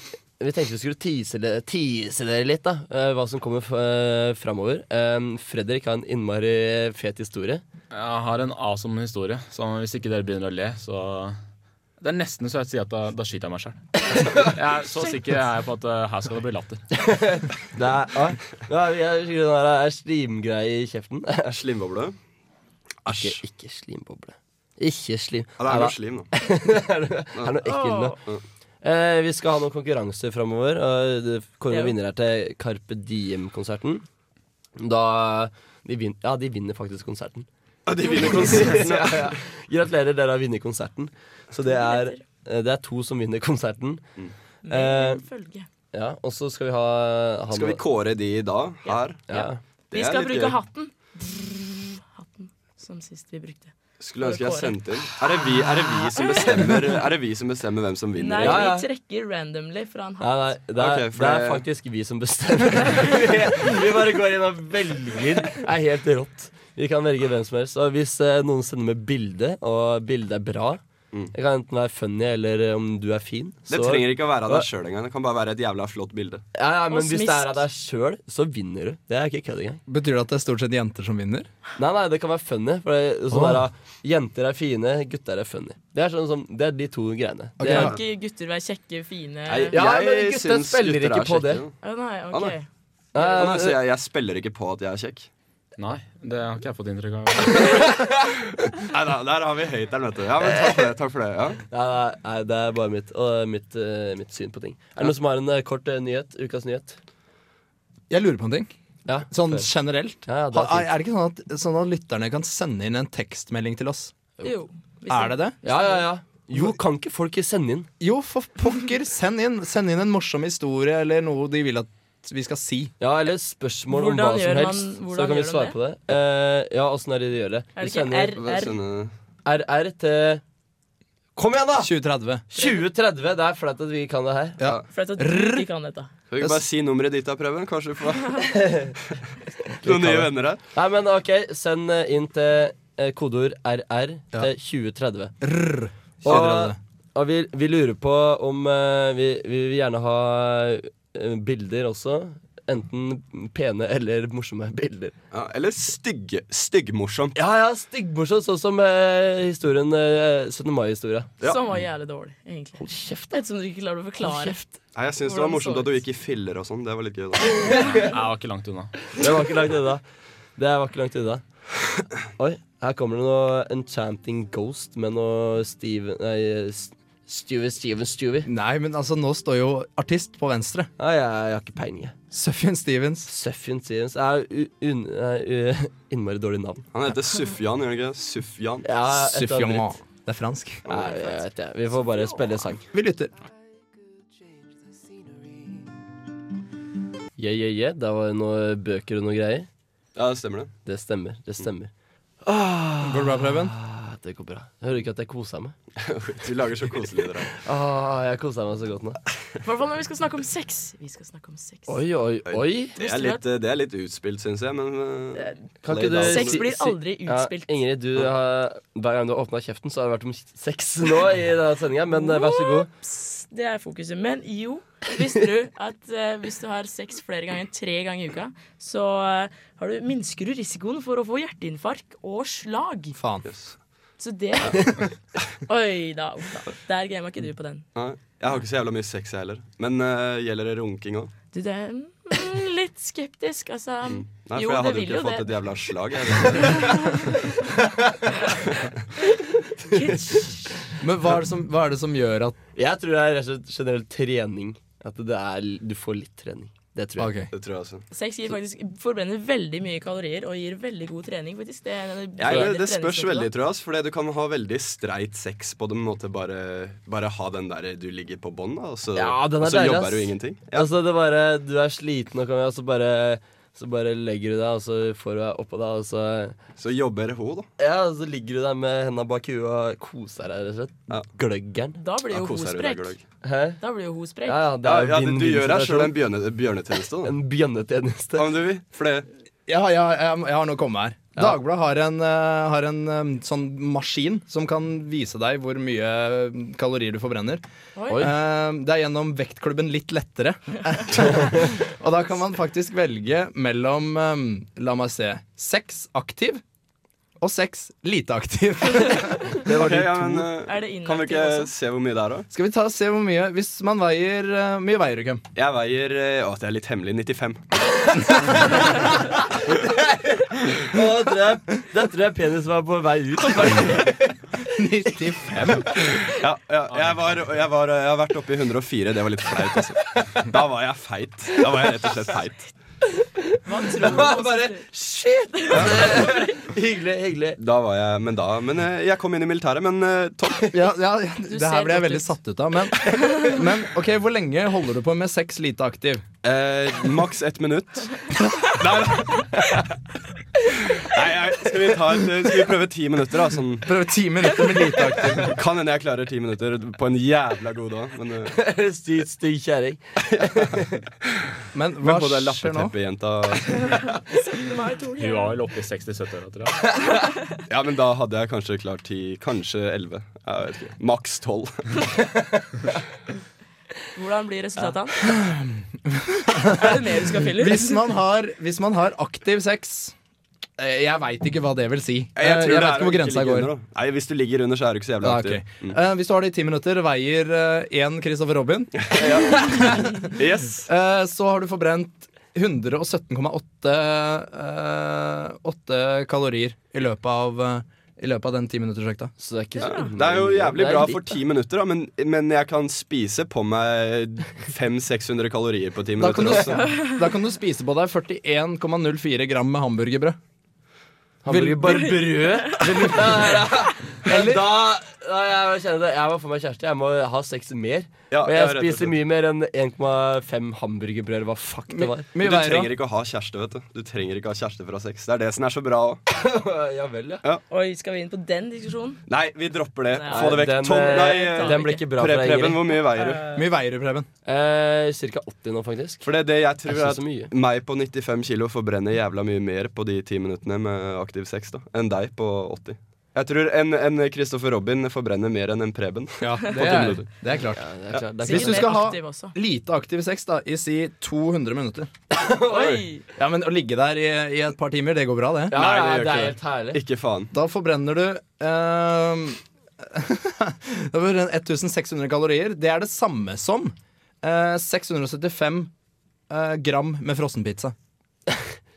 S5: vi tenkte vi skulle tease det- tease dere litt, da. eh, hva som kommer uh, framover. Eh, Fredrik har en innmari fet historie.
S8: Jeg har en awesome historie, så hvis ikke dere begynner å le, så Det er nesten så jeg sier at da, da skyter jeg meg sjøl. Jeg er så sikker jeg er på at eh, her skal det bli latter.
S5: Det er, ja, ja, jeg husker den der er slimgreie i kjeften.
S4: Slimboble.
S5: Ikke, ikke slimboble. Ikke slim.
S4: Ja, det er noe slim, da.
S5: er noe ekkelt nå. Eh, vi skal ha noen konkurranser framover. og Det kommer
S7: Ja.
S5: noen vinnere her til Carpe Diem-konserten. Da de vin, Ja, de vinner faktisk konserten.
S4: De vinner konserten.
S5: Ja, ja. Gratulerer, dere har vunnet konserten. Så det er, eh, det er to som vinner konserten. Eh,
S7: Følge.
S5: ja, og så skal vi ha, ha
S4: Skal vi
S5: noe-
S4: kåre de da? Her?
S5: ja.
S4: Det
S7: Vi
S4: er
S7: skal
S4: litt
S7: bruke
S4: gøy.
S7: hatten. Hatten som sist vi brukte.
S4: Skulle ønske jeg
S7: Kåre.
S4: sendte inn. Er det, vi, er, det vi som bestemmer, er det vi som bestemmer hvem som vinner?
S7: Nei,
S5: Ja, ja.
S7: vi trekker randomly fra en hatt.
S5: Nei, nei, det er,
S4: Ok, for
S5: det er
S4: det-
S5: faktisk vi som bestemmer. vi bare går inn og velger. Det er helt rått. Vi kan velge hvem som helst. Og hvis eh, noen sender med bilde, og bildet er bra Det kan enten være funny eller eh, om du er fin.
S4: Det trenger ikke å være av deg sjøl engang. Det kan bare være et jævla flott bilde.
S5: ja, ja, Men
S7: Og
S5: hvis det er
S7: smisk.
S5: av deg sjøl, så vinner du. Det er ikke kødd engang.
S6: Betyr det at det er stort sett jenter som vinner?
S5: Nei, nei, det kan være funny. For det er sånn
S6: Åh.
S5: der, ah, Jenter er fine, gutter er funny. Det er, sånn, som, det er de to greiene.
S6: Ok,
S5: Det
S7: Kan
S5: er,
S6: ja.
S7: ikke gutter være kjekke, fine
S4: Jeg,
S5: Ja, men
S4: jeg
S5: gutter
S4: syns
S5: spiller
S4: gutter
S5: ikke
S4: er
S5: på
S4: kjekke,
S5: det.
S4: da.
S7: Å, Nei,
S4: Å,
S7: ok.
S4: nei.
S5: Nei,
S4: Nei, så altså, jeg, jeg spiller ikke på at jeg er kjekk.
S8: Nei, det har ikke jeg fått inntrykk av.
S4: Nei, da, Der har vi høytteren, vet du. Ja, men takk for det. takk for det, ja.
S5: Nei, nei, nei, det er bare mitt, og mitt, eh, mitt syn på ting. Er det noen som har en eh, kort eh, nyhet? Ukas nyhet?
S6: Jeg lurer på en ting.
S5: Ja,
S6: Sånn
S5: før.
S6: generelt.
S5: Ja, ja, det er
S6: Ha-
S5: fint.
S6: er, det ikke sånn at, sånn at lytterne kan sende inn en tekstmelding til oss?
S7: Jo. hvis
S6: Er det det?
S5: ja, ja, ja. Jo, kan ikke folk sende inn?
S6: Jo, for pokker! Send inn, send inn en morsom historie eller noe de vil at vi skal si.
S5: Ja, eller spørsmål
S7: Hvordan
S5: om hva
S7: gjør
S5: som
S7: man-
S5: helst. så
S7: hvordan
S5: kan vi
S7: gjør de
S5: svare
S7: det?
S5: på det. Eh, ja, åssen er det de gjør det?
S7: Er det
S5: Vi
S7: ikke
S5: sender
S4: Hva
S7: RR?
S4: sender-
S5: RR til Kom igjen, da!
S6: 2030.
S5: 2030. Det er flaut at vi ikke kan det her.
S7: For at du ikke kan dette.
S4: Kan vi ikke bare si nummeret ditt da, Preben? Kanskje du får noen nye venner her.
S5: Nei, men OK, send eh, inn til eh, kodeord RR
S6: Ja.
S5: til 2030.
S6: Rrr.
S5: Og,
S6: 2030.
S5: og vi, vi lurer på om eh, vi, vi vil gjerne ha eh, bilder også. Enten pene eller morsomme bilder.
S4: Ja, eller stygg, styggmorsomt.
S5: Ja, ja, styggmorsomt, sånn som eh, historien eh, 17. mai-historia.
S4: Ja.
S7: Som var jævlig dårlig, egentlig.
S5: Hold kjeft, da.
S7: Et som du ikke klarer å forklare.
S4: Nei, jeg syns det var
S7: Hvordan
S4: morsomt
S7: så
S4: at du
S7: ut?
S4: gikk i filler og sånn. Det var litt gøy. da
S8: Jeg var ikke langt unna.
S5: Det var ikke langt unna. Det var ikke langt unna. Oi, her kommer det noe Enchanting Ghost med noe Steven Nei, S- Stewie, Steven, Stewie.
S6: Nei, men altså, nå står jo artist på venstre.
S5: Nei, jeg, jeg har ikke peiling, jeg.
S6: Sufjan Stevens.
S5: Suffian Stevens er u- un- er u- innmari dårlig navn.
S4: Han heter Sufjan, gjør han ikke? det? Sufjan.
S5: Ja, et eller annet dritt.
S6: Det er fransk.
S5: Nei, jeg vet ikke. Vi får bare spille sang.
S6: Vi lytter.
S9: Change the scene.
S5: Yeah, yeah, yeah. Der var det noen bøker og noen greier.
S4: Ja, det stemmer det.
S5: Det stemmer. det stemmer
S6: Går det bra, Preben?
S5: Det går bra. Jeg hører ikke at jeg koser meg.
S4: Vi lager så koselyder her.
S5: Ah, jeg koser meg så godt nå.
S7: I hvert fall når vi skal snakke om sex. Vi skal snakke om sex.
S5: Oi, oi, oi.
S4: Det er litt, eh, det er litt utspilt, syns jeg, men eh,
S5: Kan
S4: play
S5: ikke du
S4: down.
S7: Sex blir aldri utspilt.
S5: Ja, Ingrid, du har, hver gang du har åpna kjeften, så har det vært om sex nå i denne sendinga, men eh, vær så god.
S7: Ops, det er fokuset. Men jo, visste du at eh, hvis du har sex flere ganger enn tre ganger i uka, så eh, har du, minsker du risikoen for å få hjerteinfarkt og slag.
S6: Faen.
S4: Yes.
S7: Så det Oi da. uff da. Der gama ikke du på den.
S4: Nei, jeg har ikke så jævla mye sex, jeg heller. Men eh, gjelder det runking òg?
S7: Du, det er mm, litt skeptisk, altså.
S4: Nei, for jeg
S7: Jo, det
S4: hadde jo
S7: vil
S4: ikke
S7: jo
S4: fått
S7: det.
S4: et jævla slag. Jeg.
S6: Men hva er, det som, hva er det som gjør at
S5: Jeg tror det er rett og slett generell trening. At det er, du får litt trening. Det tror jeg.
S6: Ok.
S4: Det tror jeg altså. også.
S7: Sex gir faktisk, forbrenner veldig mye kalorier og gir veldig god trening, faktisk. Det, er en-
S4: Jeg,
S7: veldig
S4: det spørs
S7: treningsmetoden.
S4: veldig, tror jeg. For du kan ha veldig streit sex på det, men måte bare, bare ha den der du ligger på bånn, da, og så,
S5: Ja, den er
S4: og så
S5: deilig, ass.
S4: jobber du ingenting.
S5: Altså, det er bare, du er sliten, og, kan- og så bare, så bare legger du deg, og så får du deg oppå deg, og så
S4: Så jobber ho, da.
S5: Ja, og så ligger du der med henda bak huet og koser deg, rett og slett.
S4: Ja.
S5: Gløggeren.
S7: Da blir
S4: Ja,
S7: jo
S4: koser du deg,
S7: hosprek.
S4: gløgg.
S5: Hæ?
S7: Da blir jo hosprek.
S5: Ja, ja, det
S4: Ja,
S5: er
S4: ja,
S5: vinn-
S4: du gjør deg sjøl
S5: vinn-situasjon.
S4: en bjørne, bjørnetjeneste, da.
S5: En bjønnetjeneste.
S4: Ja, men du vil. For det
S6: Ja, ja jeg, jeg har noe å komme med her. Dagbladet har en, eh, har en eh, sånn maskin som kan vise deg hvor mye eh, kalorier du forbrenner.
S7: Oi.
S5: Oi.
S6: Eh, det er gjennom vektklubben Litt lettere. og da kan man faktisk velge mellom, eh, la meg se, sex aktiv og sex lite aktiv.
S4: Det var ja, men,
S7: Er det
S4: eh, Kan vi
S7: inaktiv
S4: ikke
S7: også?
S4: se hvor mye det er, da?
S6: Skal vi ta og se hvor mye Hvis man veier eh, mye veier du, Kem?
S4: Jeg veier eh, Å, det er litt hemmelig. 95.
S5: Å, da tror jeg, da tror jeg penis var på vei ut. altså.
S6: 95.
S4: Ja, ja jeg, var, jeg, var, jeg har vært oppe i 104. Det var litt flaut, altså. Da var jeg feit. Da var jeg rett og slett feit.
S7: Hva tror du om
S5: Bare shit! hyggelig, hyggelig.
S4: Da var jeg, men da Men eh, jeg kom inn i militæret, men eh, topp.
S6: Ja, ja,
S7: Du
S6: det her
S7: ser
S6: ble jeg
S7: godt
S6: veldig
S7: ut.
S6: satt ut av. Men, men ok, hvor lenge holder du på med sex lite aktiv?
S4: Eh, maks ett minutt. Nei, nei. nei jeg, skal, vi ta et, eh, skal vi prøve ti minutter, da? Sånn.
S6: Prøve ti minutter med lite aktiv.
S4: Kan hende jeg klarer ti minutter på en jævla god dag. Men, eh,
S5: Stygg, stygg kjerring.
S6: Men hva
S4: men både
S6: skjer nå?
S4: lappeteppejenta
S7: meg to
S8: Hun
S7: ganger?
S8: var vel oppe i 60-70-åra, tror jeg.
S4: Ja, men da hadde jeg kanskje klart ti, kanskje elleve. Jeg vet ikke. Maks tolv.
S7: Hvordan blir resultatene? er det mer du skal fylle ut?
S6: Hvis man har, hvis man har aktiv sex eh, Jeg veit ikke hva det vil si. Eh,
S4: tror
S6: jeg
S4: det er
S6: vet ikke
S4: å
S6: hvor grensa
S4: ligge
S6: går.
S4: under, da. Nei, Hvis du ligger under, så er du ikke så jævla Mm.
S6: Ja,
S4: aktiv.
S6: ok. Eh, hvis du har det i ti minutter, veier én Christopher Robin,
S4: Yes.
S6: eh, så har du forbrent 117,8 eh, åtte kalorier i løpet av, eh, i løpet av den timinuttersøkta.
S5: Så det er ikke
S4: Ja,
S5: så
S4: Det er jo jævlig
S5: Det er
S4: bra
S5: litt,
S4: for ti minutter, da, men, men jeg kan spise på meg 500-600 kalorier på ti
S6: Da kan,
S4: minutter altså.
S6: du,
S4: også.
S6: da kan du spise på deg 41,04 gram med hamburgerbrød.
S5: Han blir bare brød.
S6: Eller-
S5: Da, da jeg, kjenner det, jeg må få meg kjæreste. Jeg må ha sex mer.
S4: Ja,
S5: og
S4: ja,
S5: jeg
S4: rett og slett.
S5: spiser mye mer enn 1,5 hamburgerbrød. eller Hva fuck det var.
S4: Du
S6: Mye veier
S4: trenger ikke å ha kjæreste, vet du. Du trenger ikke å ha kjæreste fra sex. Det er det som er så bra òg.
S5: ja vel, ja.
S7: Oi, skal vi inn på den diskusjonen?
S4: Nei, vi dropper det.
S7: Nei,
S4: Få det vekk.
S5: Den,
S4: Tom,
S5: eh,
S4: nei,
S5: den blir ikke bra
S4: Pre
S5: for deg,
S4: Preben,
S5: Ingrid.
S4: hvor mye veier du?
S6: da. Mye veier du, Preben.
S5: Eh, cirka 80 nå, faktisk.
S4: For det er det jeg tror
S5: Jeg synes
S4: at
S5: så mye.
S4: meg på 95 kilo forbrenner jævla mye mer på de ti minuttene med aktiv sex da, enn deg på 80. Jeg tror en, en Christopher Robin forbrenner mer enn en Preben.
S6: Det
S4: ti
S6: er,
S4: minutter.
S6: det er klart.
S5: Ja, det er klart. Det er
S6: Hvis
S5: klart.
S6: du skal ha-
S7: Aktiv også.
S6: Lite aktiv sex da, i si 200 minutter.
S7: Oi!
S6: Ja, men Å ligge der i, i et par timer, det går bra, det.
S5: Ja,
S4: Nei, det
S5: ja, det er
S4: gjør ikke det.
S5: helt herlig.
S4: Ikke faen.
S6: Da forbrenner du ehm, Da forbrenner du 1600 kalorier. Det er det samme som eh, 675 eh, gram med frossenpizza.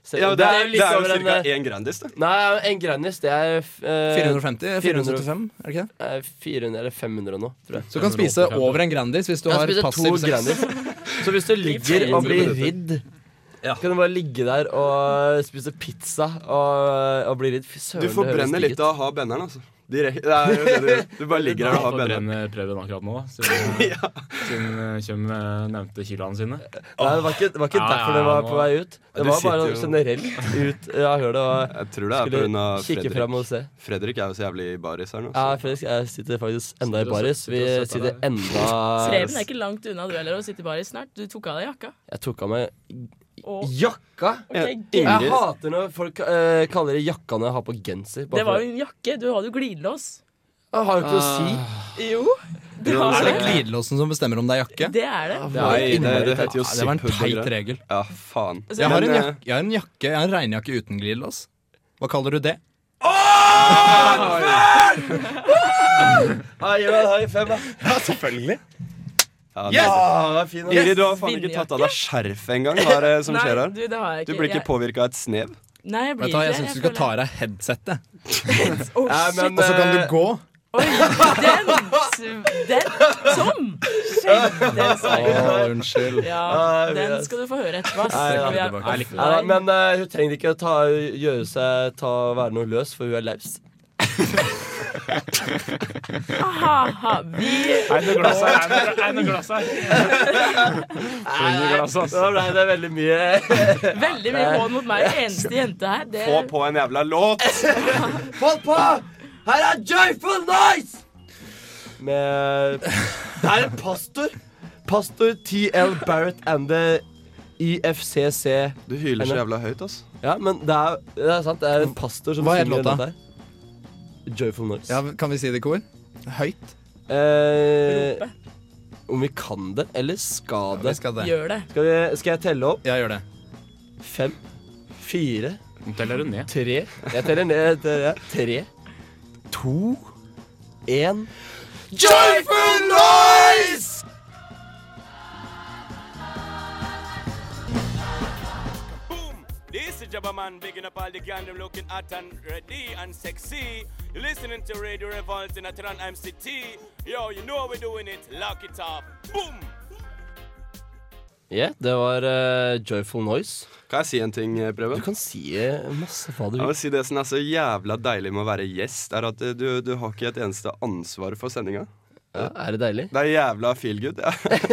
S5: Se-
S4: Ja, det er,
S5: litt
S4: det er
S5: over
S4: jo
S5: en,
S4: ca.
S5: eh,
S4: én Grandis, det.
S5: Nei, en Grandis, det er eh,
S6: 450? 475, er det ikke det?
S5: eh, 400 eller 500 nå, tror jeg.
S6: Så du kan spise over en Grandis hvis du
S5: Jeg
S6: har
S5: spiser to
S6: passiv sex.
S5: Grandis. Så hvis du ligger og blir ridd, kan du bare ligge der og spise pizza og, og bli ridd. Fy
S4: Du
S5: søren, det høres
S4: forbrenner
S5: digg
S4: litt
S5: ut.
S4: av å ha benneren, altså. De rek det er jo det du gjør. Du bare ligger her og har benene.
S8: Forbrenner Preben akkurat nå, siden ja. Kjøm eh, nevnte kiloene sine.
S5: Nei, det var ikke, det var ikke
S8: Ja, ja,
S5: derfor det var
S8: nå-
S5: på vei ut.
S4: Ja,
S5: Det
S4: du
S5: var bare
S4: sitter jo-
S5: generelt ut av hølet og
S4: Jeg tror det er pga.
S5: skulle kikke fram og
S4: Fredrik.
S5: se.
S4: Fredrik er jo så jævlig i baris her nå. altså.
S5: Ja,
S4: Så.
S5: Fredrik, jeg sitter faktisk enda
S8: Sitter
S5: i
S8: og
S5: baris.
S8: sø-
S5: Vi
S8: sitter og søtter
S5: sitter
S8: deg.
S5: enda
S7: Streben er ikke langt unna du heller, og sitter bare i snart. Du tok av deg jakka.
S5: Jeg tok av meg
S7: Og
S5: jakka!
S7: ok,
S5: Jeg
S4: Ingrid.
S5: hater når folk eh, kaller det jakka når jeg har på genser. Bare
S7: Det var
S5: for-
S7: jo en jakke. Du hadde jo glidelås.
S5: Jeg har jo ikke noe å si.
S7: Jo, det
S6: Er
S7: var
S6: det glidelåsen som bestemmer om det er jakke?
S7: Det er det.
S5: Det var
S4: Nei, det,
S5: innmari
S4: det
S5: teit.
S4: heter jo
S6: Ja, det var en
S4: zip-hood og
S6: teit
S4: greier.
S6: regel.
S4: Ja, faen.
S7: Altså,
S6: Jeg har
S4: Men,
S6: en
S4: eh,
S6: jakke, jeg har en, jakke, jeg har en regnjakke uten glidelås. Hva kaller du det?
S5: Ja, Gi meg en high five, da.
S2: Selvfølgelig.
S4: Ja,
S6: Yes!
S5: Ah, fin, da.
S4: Ingrid, du har faen ikke tatt av deg skjerfet engang. Hva er det som
S7: Nei,
S4: skjer her?
S7: Du, det har jeg
S4: Du
S7: ikke.
S4: blir ikke
S7: jeg,
S4: påvirka av et snev?
S7: Nei, jeg blir
S6: Vet du hva, Jeg
S7: ikke
S6: syns du skal ta av deg headsettet,
S7: føler- Å,
S5: Ja,
S7: shit.
S5: men,
S6: og så kan du
S5: eh,
S6: gå.
S7: Oi, den, s- den som Shit, den sa jeg.
S6: unnskyld.
S7: Ja,
S5: Nei,
S7: den
S5: yes.
S7: skal du få høre etterpå. ass.
S5: Nei, ja.
S7: Vi er-
S6: Jeg
S8: likte
S5: Nei, nei, men eh, hun trenger ikke å ta, gjøre seg ta, være noe løs, for hun er laus.
S7: Aha, vi
S8: Er det noe glass her? Er det noe- Er det noe glass her? Trenger glass, ass.
S5: Nå ble det veldig mye
S7: Veldig mye hån mot meg. Eneste jente her. Det,
S4: Få på en jævla låt!
S5: Hold på! Her er Joyful Noise! Med Det er en pastor. Pastor T.L. Barrett and the IFCC.
S4: Du hyler så jævla høyt, ass.
S5: Ja, men det er, det er sant. Det er en pastor som
S6: Hva het
S5: synger
S6: låta?
S5: dette her. Joyful Noise.
S6: Ja, kan vi si det i kor? Høyt.
S5: eh, om vi kan det, eller skal
S6: Vi
S5: det?
S6: skal det.
S7: gjør det.
S5: Skal, vi, skal jeg telle opp?
S6: Jeg gjør det.
S5: Fem, fire,
S8: Nå teller du ned.
S5: Tre. Jeg teller ned til ja. tre, to, én Joyful noise!
S10: This is Jabba Man bigging up all the gandom looking at and ready and sexy. You're listening to Radio Revolt in Atran MCT. Yo, you know we're doing it. Lock it up. Boom!
S5: Ja, det var eh, Joyful Noise.
S4: Kan jeg si en ting, eh,
S5: Du
S4: Preben?
S5: kan si eh, masse hva du
S4: Jeg vil
S5: vil.
S4: si Det som er så jævla deilig med å være gjest, er at eh, du, du har ikke et eneste ansvar for sendinga.
S5: Ja, er det deilig?
S4: Det er jævla feel good.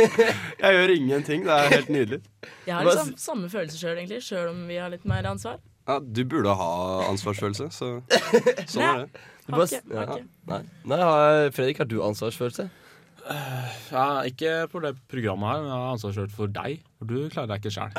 S4: Jeg gjør ingenting. Det er helt nydelig.
S7: Jeg har
S5: Hva-
S7: liksom samme følelse sjøl, egentlig. Sjøl om vi har litt mer ansvar.
S4: Ja, du burde ha ansvarsfølelse, så sånn er det.
S5: Du
S7: Har
S5: bare-
S7: ikke, har
S5: ja.
S7: ikke.
S5: Nei, Nei har, Fredrik, har du ansvarsfølelse?
S8: Ja, ikke for det programmet her, men jeg har ansvarsført for deg. For du klarer deg ikke sjøl.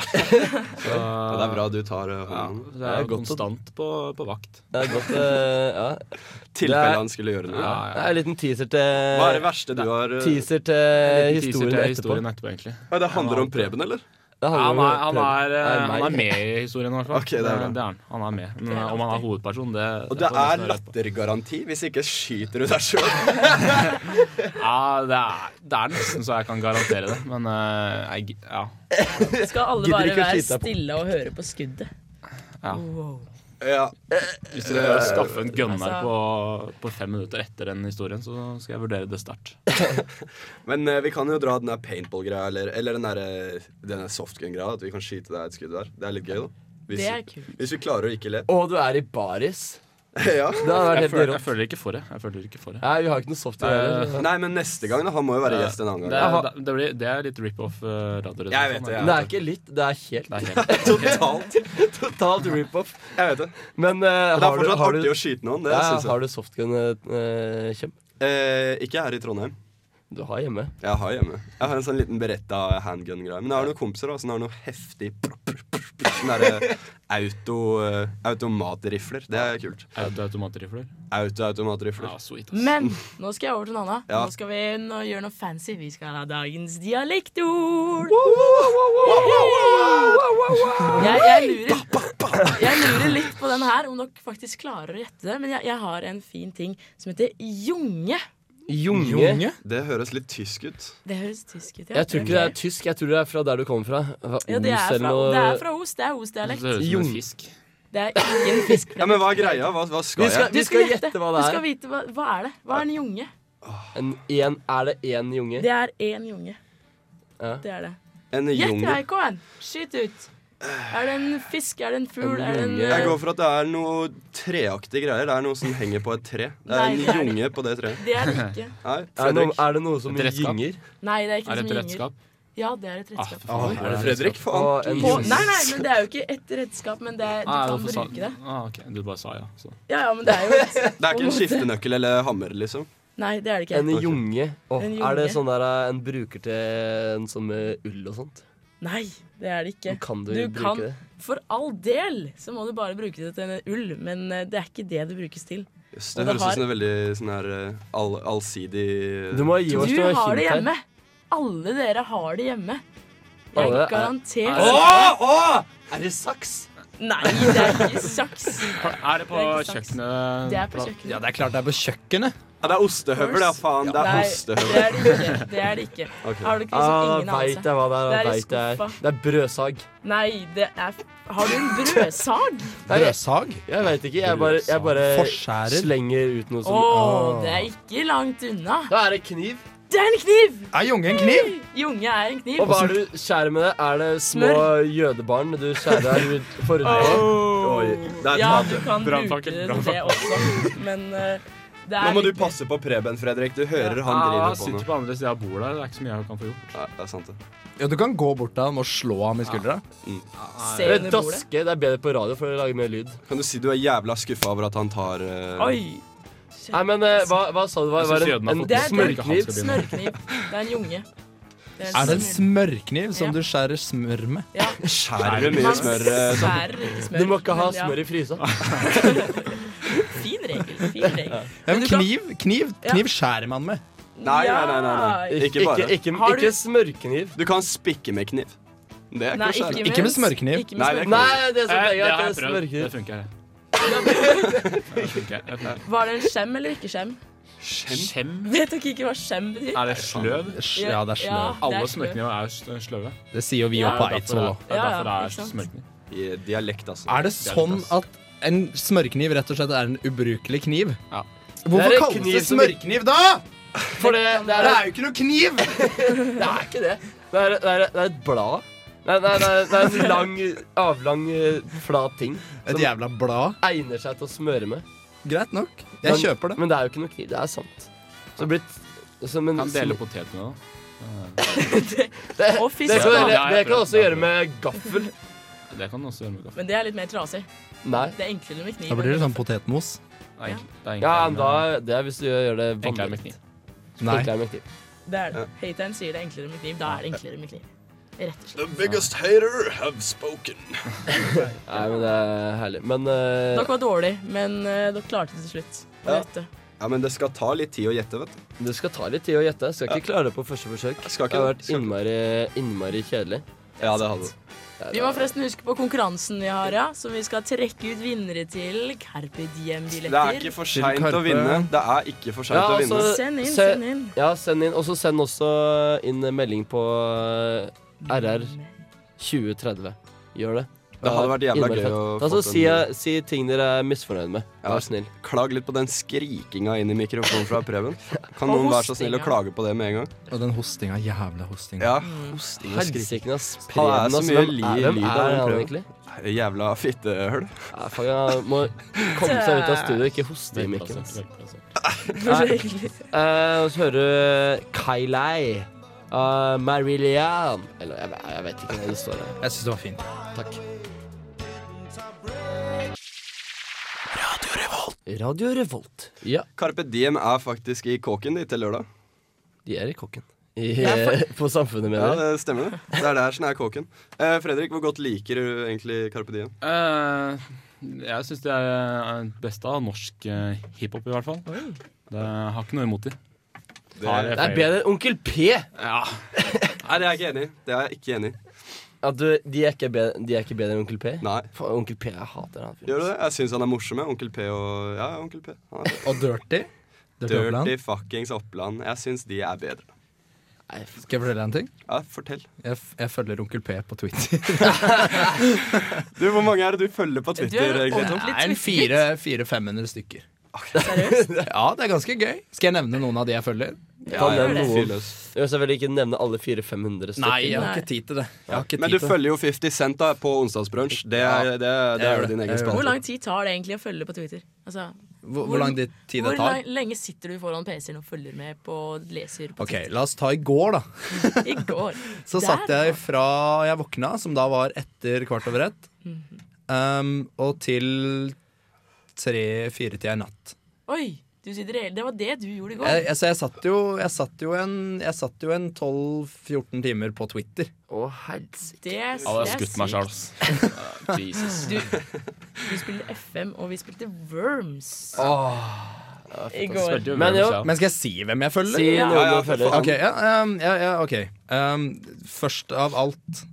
S4: Ja, det er bra du tar eh,
S8: Ja,
S4: hånden.
S8: det er
S5: Det er godt å-
S8: konstant på, på vakt.
S5: Det er godt, eh, ja. Det er-
S4: Tilfelle han skulle gjøre noe.
S8: Ja,
S5: Det er en liten teaser
S4: Hva er
S5: til
S4: det verste du har eh,
S5: Teaser til
S8: Teaser til
S5: historien etterpå.
S8: historien etterpå, egentlig.
S4: Ja, Det handler om Preben, eller?
S5: Det handler
S8: Han
S5: om
S8: er, han, er,
S5: Preben.
S8: eh, han
S5: meg.
S8: er med i historien, i hvert fall.
S4: Ok, det er bra.
S8: han. Han er med. Men
S7: Det er
S8: eh, om han er hovedperson, det
S4: Og det
S8: får
S4: er
S8: nesten være på.
S4: lattergaranti. Hvis ikke skyter du deg sjøl.
S8: Ja, det er, det er nesten så jeg kan garantere det. Men eh, jeg, gi- ja.
S7: Skal alle
S5: Gidder
S7: bare
S5: ikke å
S7: være
S5: slite deg på.
S7: stille og høre på skuddet?
S8: Ja.
S7: Wow.
S4: Ja.
S8: Hvis dere
S4: Oh.
S8: klarer å skaffe en gunner
S7: Altså-
S8: på, på fem minutter etter den historien, så skal jeg vurdere det sterkt.
S4: Men eh, vi kan jo dra den der paintball-greia, eller, eller den der, eh, den der softgun-greia. At vi kan skyte deg et skudd der. Det er litt gøy, da. Hvis,
S7: Det er kult.
S4: hvis vi klarer å ikke le.
S5: Og du er i baris.
S4: ja.
S5: Det hadde vært
S8: Jeg
S5: helt
S8: føler,
S5: rått.
S8: jeg føler ikke for det. Jeg føler ikke for det.
S5: Nei, vi har ikke noe software
S8: Nei,
S5: heller.
S4: Nei, men neste gang, da. Han må jo være gjest en annen
S8: Det
S4: gang.
S8: er, det blir, det er litt rip-off eh, radio.
S4: Jeg vet det, jeg
S5: Det er ikke litt, det er helt.
S8: Det er helt
S4: Totalt.
S5: Totalt rip-off.
S4: Jeg vet det.
S5: Men eh,
S4: Det er
S5: har, du,
S4: fortsatt
S5: har,
S4: artig
S5: du,
S4: å skyte noen. Det
S5: ja,
S4: synes jeg.
S5: har du softgun, eh, Kjem?
S4: Eh, ikke her i Trondheim.
S5: Du har hjemme.
S4: Jeg har hjemme. Jeg har en sånn liten beretta handgun-greie. Men jeg har noen kompiser da, som har noe heftig prr, prr, prr, prr, Sånn derre auto, eh, automatrifler. Det er kult.
S8: Auto- Automatrifler?
S4: Auto-automatrifler.
S8: Ja, sweet, ass.
S7: Men nå skal jeg over til noe annet.
S4: Ja.
S7: Nå skal vi nå gjøre noe fancy. Vi skal ha dagens dialektord. Jeg, jeg, lurer, jeg lurer litt på den her, om dere faktisk klarer å gjette det. Men jeg, jeg har en fin ting som heter junge.
S5: Junge.
S6: Junge?
S4: Det høres litt tysk ut.
S7: Det høres tysk ut. ja.
S5: Jeg tror ikke det er tysk, jeg tror det er fra der du kommer fra. Fra
S7: ja, det
S5: Os
S7: er
S5: eller
S7: fra,
S5: noe.
S7: det er fra Os. Det er
S8: Det
S7: Os-dialekt.
S8: høres ut som
S5: Jung.
S8: en fisk.
S7: Det er ingen fisk.
S4: Ja, Men hva er greia? Hva, hva skal,
S5: Vi skal,
S4: jeg?
S5: vi skal gjette hva det
S7: Du skal
S5: er.
S7: vite hva, hva er det Hva er en junge?
S5: En, en, er det én junge?
S7: Det er én junge.
S5: Ja.
S7: Det er det.
S4: En
S7: Gjett,
S4: junge?
S7: Eikon! Skyt ut. Er det en fisk? Er det en fugl? Er det en eh,
S4: Jeg går for at det er noe treaktig greier. Det er noe som henger på et tre. Det
S7: Nei,
S4: er
S7: det er
S4: en
S7: det
S4: junge på det treet.
S7: Det er det ikke.
S4: Nei,
S5: Er det noe-
S4: Fredrik.
S5: er det noe som Et redskap? gynger?
S7: Nei, det er ikke
S5: Er det
S7: som
S5: et
S7: gynger.
S5: redskap?
S7: Ja, det er et redskap.
S4: Oi, er det Fredrik?
S5: Og en-
S4: Faen.
S7: På, nei, nei, men det er jo ikke et redskap, men det er, du
S8: Ah,
S7: kan
S8: hvorfor sa-
S7: bruke det.
S8: Ah, ok, Du bare sa ja, så.
S7: Ja, ja, men det er jo et
S4: Det er ikke en skiftenøkkel eller hammer, liksom?
S7: Nei, det er det ikke.
S5: En junge. Å,
S7: En
S5: Er det
S7: junge.
S5: sånn der eh, en bruker til en sånn med ull og sånt?
S7: Nei, det er det ikke.
S5: Men kan du bruke det?
S7: For all del så må du bare bruke det til en ull, men eh, det er ikke det det brukes til.
S4: Yes,
S7: Og
S4: det høres ut
S7: har-
S4: som en veldig sånn her eh, all, allsidig eh,
S5: Du må gi oss
S7: Du har det hjemme. Alle dere har det hjemme. Jeg
S5: Alle er-
S7: garanterer
S5: Åh, åh! Er det saks?
S7: Nei, det er ikke saks.
S8: Er det på
S7: Det er ikke saks.
S8: kjøkkenet?
S7: Det er på kjøkkenet.
S6: Ja, det er klart det er på kjøkkenet.
S4: Ja, det er ostehøvel, ja, faen. Det er
S7: Nei, det
S4: ostehøvel.
S7: er det ikke. Det er det ikke.
S4: Ok.
S7: Har du ikke liksom
S5: Ah,
S7: ingen av
S5: veit jeg hva det er.
S7: Det er i
S5: vet jeg.
S7: skuffa.
S5: Det er brødsag.
S7: Nei, det er Har du en brødsag?
S6: Brødsag?
S5: Jeg veit ikke. Jeg bare, jeg bare
S6: Forskjærer?
S5: slenger ut noe
S7: Å,
S5: som
S4: Ah.
S7: det er ikke langt unna.
S5: Da er det kniv.
S7: Det er en kniv!
S6: Er Junge en kniv?
S7: Junge er en kniv.
S5: Og hva er det du skjærer med det? Er det små jødebarn du skjærer av rundt forhuden?
S7: Åh.
S4: Oi, det er
S7: Ja,
S4: tatt.
S7: du kan bruke
S8: Branntanker,
S7: det
S8: branntanker.
S7: også, men eh, det er
S4: Nå må du
S7: ikke-
S4: passe på Preben, Fredrik. Du hører han
S8: Ah,
S4: driver på
S8: sitter
S4: nå.
S8: på andre siden av bordet. Det er ikke så mye jeg kan få gjort.
S4: Ja, det er sant, det.
S6: Ja, du kan gå bort til ham og slå ham i skuldra.
S7: se
S5: Det
S7: under
S5: er
S7: bordet.
S5: daske. Det er bedre på radio for å lage mer lyd.
S4: Kan du si du er jævla skuffa over at han tar eh,
S7: Oi.
S5: Nei, men eh, hva, hva sa du? Hva,
S8: Jeg
S5: var
S8: synes jøden
S5: en,
S8: har
S5: en
S8: fått
S7: Det er- det
S5: smørkniv?
S7: er- Smørkniv. Det er en junge.
S6: Er det en smørkniv som
S7: Ja.
S6: du skjærer smør med?
S7: Ja.
S4: Skjærer du mye smør? eh,
S7: Man skjærer ikke smør.
S5: Du må ikke ha
S7: men ja.
S5: smør i frysa.
S7: Fin regel. Fin regel.
S6: Ja, men
S7: du kan-
S6: kniv, kniv,
S7: Ja.
S6: kniv skjærer man med.
S4: Nei, nei, nei, nei, nei. Ikke
S5: Ikke,
S4: bare.
S5: ikke,
S7: Har du-
S5: ikke smørkniv.
S4: Du kan spikke med kniv. Det er ikke
S7: Nei,
S4: å skjære.
S6: Ikke med smørkniv.
S7: Ikke med
S4: Nei, det er ikke
S7: smørkniv.
S5: Nei, det som
S8: Eh,
S5: er
S8: det har jeg
S5: at det
S8: prøvd. Det
S5: smørkniv.
S8: funker. Det funker. Det funker.
S7: Var det en skjem eller ikke skjem?
S8: Skjem?
S7: Vet dere ikke hva skjem betyr?
S8: Er det sløv?
S6: Sj- Ja, det er sløv.
S8: Alle
S7: sløv.
S8: smørkniver er jo s- sløve.
S6: Det sier jo vi
S7: Ja.
S6: jo på Eidsvoll òg.
S8: Det er
S7: Ja, ja,
S8: derfor det
S7: ikke
S8: er
S7: sant.
S8: smørkniv.
S4: I dialekt, altså.
S6: Er det sånn
S8: ass.
S6: at en smørkniv rett og slett er en ubrukelig kniv?
S8: Ja.
S5: Det er
S6: Hvorfor
S5: en
S6: kalles
S5: kniv
S6: det
S5: som-
S6: smørkniv da?
S5: For det, det,
S6: Det
S5: er,
S6: er jo ikke noe kniv!
S5: det er ikke det. Det er, det er, det er et blad. Nei, nei, nei, det er en lang, avlang, eh, flat ting
S6: Et jævla blad.
S5: egner seg til å smøre med.
S6: Greit nok.
S5: Men-
S6: Jeg kjøper det.
S5: Men det er jo ikke noe kniv. Det er sant. Så det blir t- altså, som en
S8: Kan dele potetene, da.
S5: Det,
S7: Og fisk.
S5: det, kan,
S7: da.
S8: Ja,
S5: dere-
S8: jeg
S5: dere kan
S8: prøver.
S5: også gjøre med gaffel.
S8: Det kan du også gjøre med kaffe.
S7: Men det er litt mer trasig.
S5: Nei.
S7: Det er enklere med kniv.
S6: Da blir det sånn potetmos.
S8: Det er enkelt- det er
S5: Ja,
S8: enklere
S5: men
S8: med-
S5: da, det er hvis du gjør det
S8: enklere med
S5: vanlig.
S8: kniv.
S6: Nei.
S5: Enklere med kniv.
S7: Det er det. Hateren sier det er enklere med kniv. Da er det enklere med kniv. Rett og slett.
S4: The biggest hater have spoken.
S5: Nei, men det er herlig. Men eh,
S7: Dere var dårlig, men eh, dere klarte det til slutt. Og
S4: Ja.
S7: dette.
S4: Ja, men det skal ta litt tid å gjette, vet du.
S5: Det skal ta litt tid å gjette. Skal ikke klare det på første forsøk.
S4: Skal ikke
S5: det har
S4: det.
S5: vært innmari, innmari kjedelig.
S4: Ja, det hadde det.
S7: Vi må forresten huske på konkurransen vi har, ja. Som vi skal trekke ut vinnere til. Carpe
S4: Det er
S7: Diem-billetter.
S4: ikke for
S6: Til
S4: seint å
S6: Karpe.
S4: vinne. Det er ikke for seint
S5: Ja,
S4: å vinne.
S5: altså-
S7: Send inn,
S5: Se-
S7: send inn.
S5: Ja, send inn. Og så send også inn melding på eh, RR 2030. Gjør det.
S4: Det hadde vært jævla
S5: Innmari
S4: gøy å
S5: fett.
S4: få
S5: Altså,
S4: til
S5: si,
S4: en-
S5: si ting dere er misfornøyd med.
S4: Ja.
S5: Vær snill.
S4: Klag litt på den skrikinga inn i mikrofonen fra Preben. Kan noen være så snill å
S7: hostinga.
S4: klage på det med en gang?
S6: Og den hostinga. Jævla hostinga.
S4: Ja, hosting og skriking.
S5: Helsike, ass.
S4: Han er så
S5: ass.
S4: mye
S5: Hvem
S4: li-
S5: er- hvem
S4: lyd
S5: er
S4: av den
S5: han
S4: prøven.
S5: egentlig?
S4: Jævla fittehøl.
S5: Ja, fuck, han må komme seg ut av studio, ikke hoste i mikken. ass. Eh, Og så hører du Kailei. Uh, Marillian Eller jeg, jeg vet ikke hva det står her.
S6: Jeg syns det var fint.
S5: Takk. Radio Revolt. Ja,
S4: Carpe Diem er faktisk i kåken din til lørdag.
S5: de er i kokken. I, på Samfunnet,
S4: Ja,
S5: mener jeg.
S4: det stemmer det. Det er der som er kåken. Eh, Fredrik, hvor godt liker du egentlig Carpe Diem?
S8: Eh, jeg syns det er det beste av norsk eh, hiphop, i hvert fall. Det har ikke noe imot det. Har jeg
S5: Det er
S8: flere-
S5: bedre enn Onkel P.
S8: Ja.
S4: Nei, det er jeg ikke enig i. Det er jeg ikke enig i.
S5: Ja, du, de, er ikke bedre, de er ikke bedre enn Onkel P?
S4: Nei.
S5: Faen, Onkel P, jeg hater han fyren.
S4: Gjør du det? Jeg syns han er morsom, jeg. Onkel P og Ja, ja, Onkel P. Han er
S6: Og dirty. dirty Oppland.
S4: Dirty fuckings Oppland. Jeg syns de er bedre.
S5: Nei, f-
S6: Skal jeg fortelle deg en ting?
S4: Ja, fortell.
S6: Jeg, f jeg følger Onkel P på Twitter.
S4: Du, Hvor mange er det du følger på
S7: Du er
S4: Twitter?
S7: en
S4: egentlig, Tom?
S7: ordentlig
S6: Det er en
S7: twittergutt.
S6: fire- 400-500 stykker.
S7: Seriøst?
S6: Ja, det er ganske gøy. Skal jeg nevne noen av de jeg følger?
S5: Kan nevne noen. Jeg vil selvfølgelig ikke nevne alle 400-500 stykker.
S6: Nei, jeg har ikke tid til det. Jeg har ikke
S4: Men
S6: tid
S4: du
S6: til det.
S4: følger jo 50 Cent da på onsdagsbrunsj. Det er, det, er- det
S6: Jeg
S4: er
S6: gjør
S4: jo
S6: det.
S4: din
S6: Jeg
S4: egen
S6: gjør
S4: spalte.
S7: Hvor lang tid tar det egentlig å følge på Twitter? Altså,
S6: Hvor, hvor lang tid det
S7: hvor
S6: tar?
S7: lang- lenge sitter du foran PC-en og følger med på leser på
S6: Ok, La oss ta i går, da.
S7: I går.
S6: Så satt jeg fra jeg våkna, som da var etter kvart over ett, um, og til tre-fire-tida i natt.
S7: Oi! Du sitter hele, det var det du gjorde i går.
S6: Jeg, jeg, så jeg satt jo, jeg satt jo en, jeg satt jo en 12-14 timer på Twitter.
S5: Å, helsike.
S7: det er,
S8: Ja, det
S7: det
S8: har
S7: er
S8: skutt meg
S7: sykt.
S8: sjøl, ass. Ja, Jesus.
S7: Du, du spilte FM, og vi spilte Worms i går.
S8: Spilte jo
S5: Men jo,
S8: Worms, ja.
S6: Men skal jeg si hvem jeg følger?
S5: si
S7: Ja,
S5: noen
S4: ja,
S5: du
S4: for
S5: følger.
S4: faen.
S6: Ok, ja, um, ja, ja, ok. Um, først av alt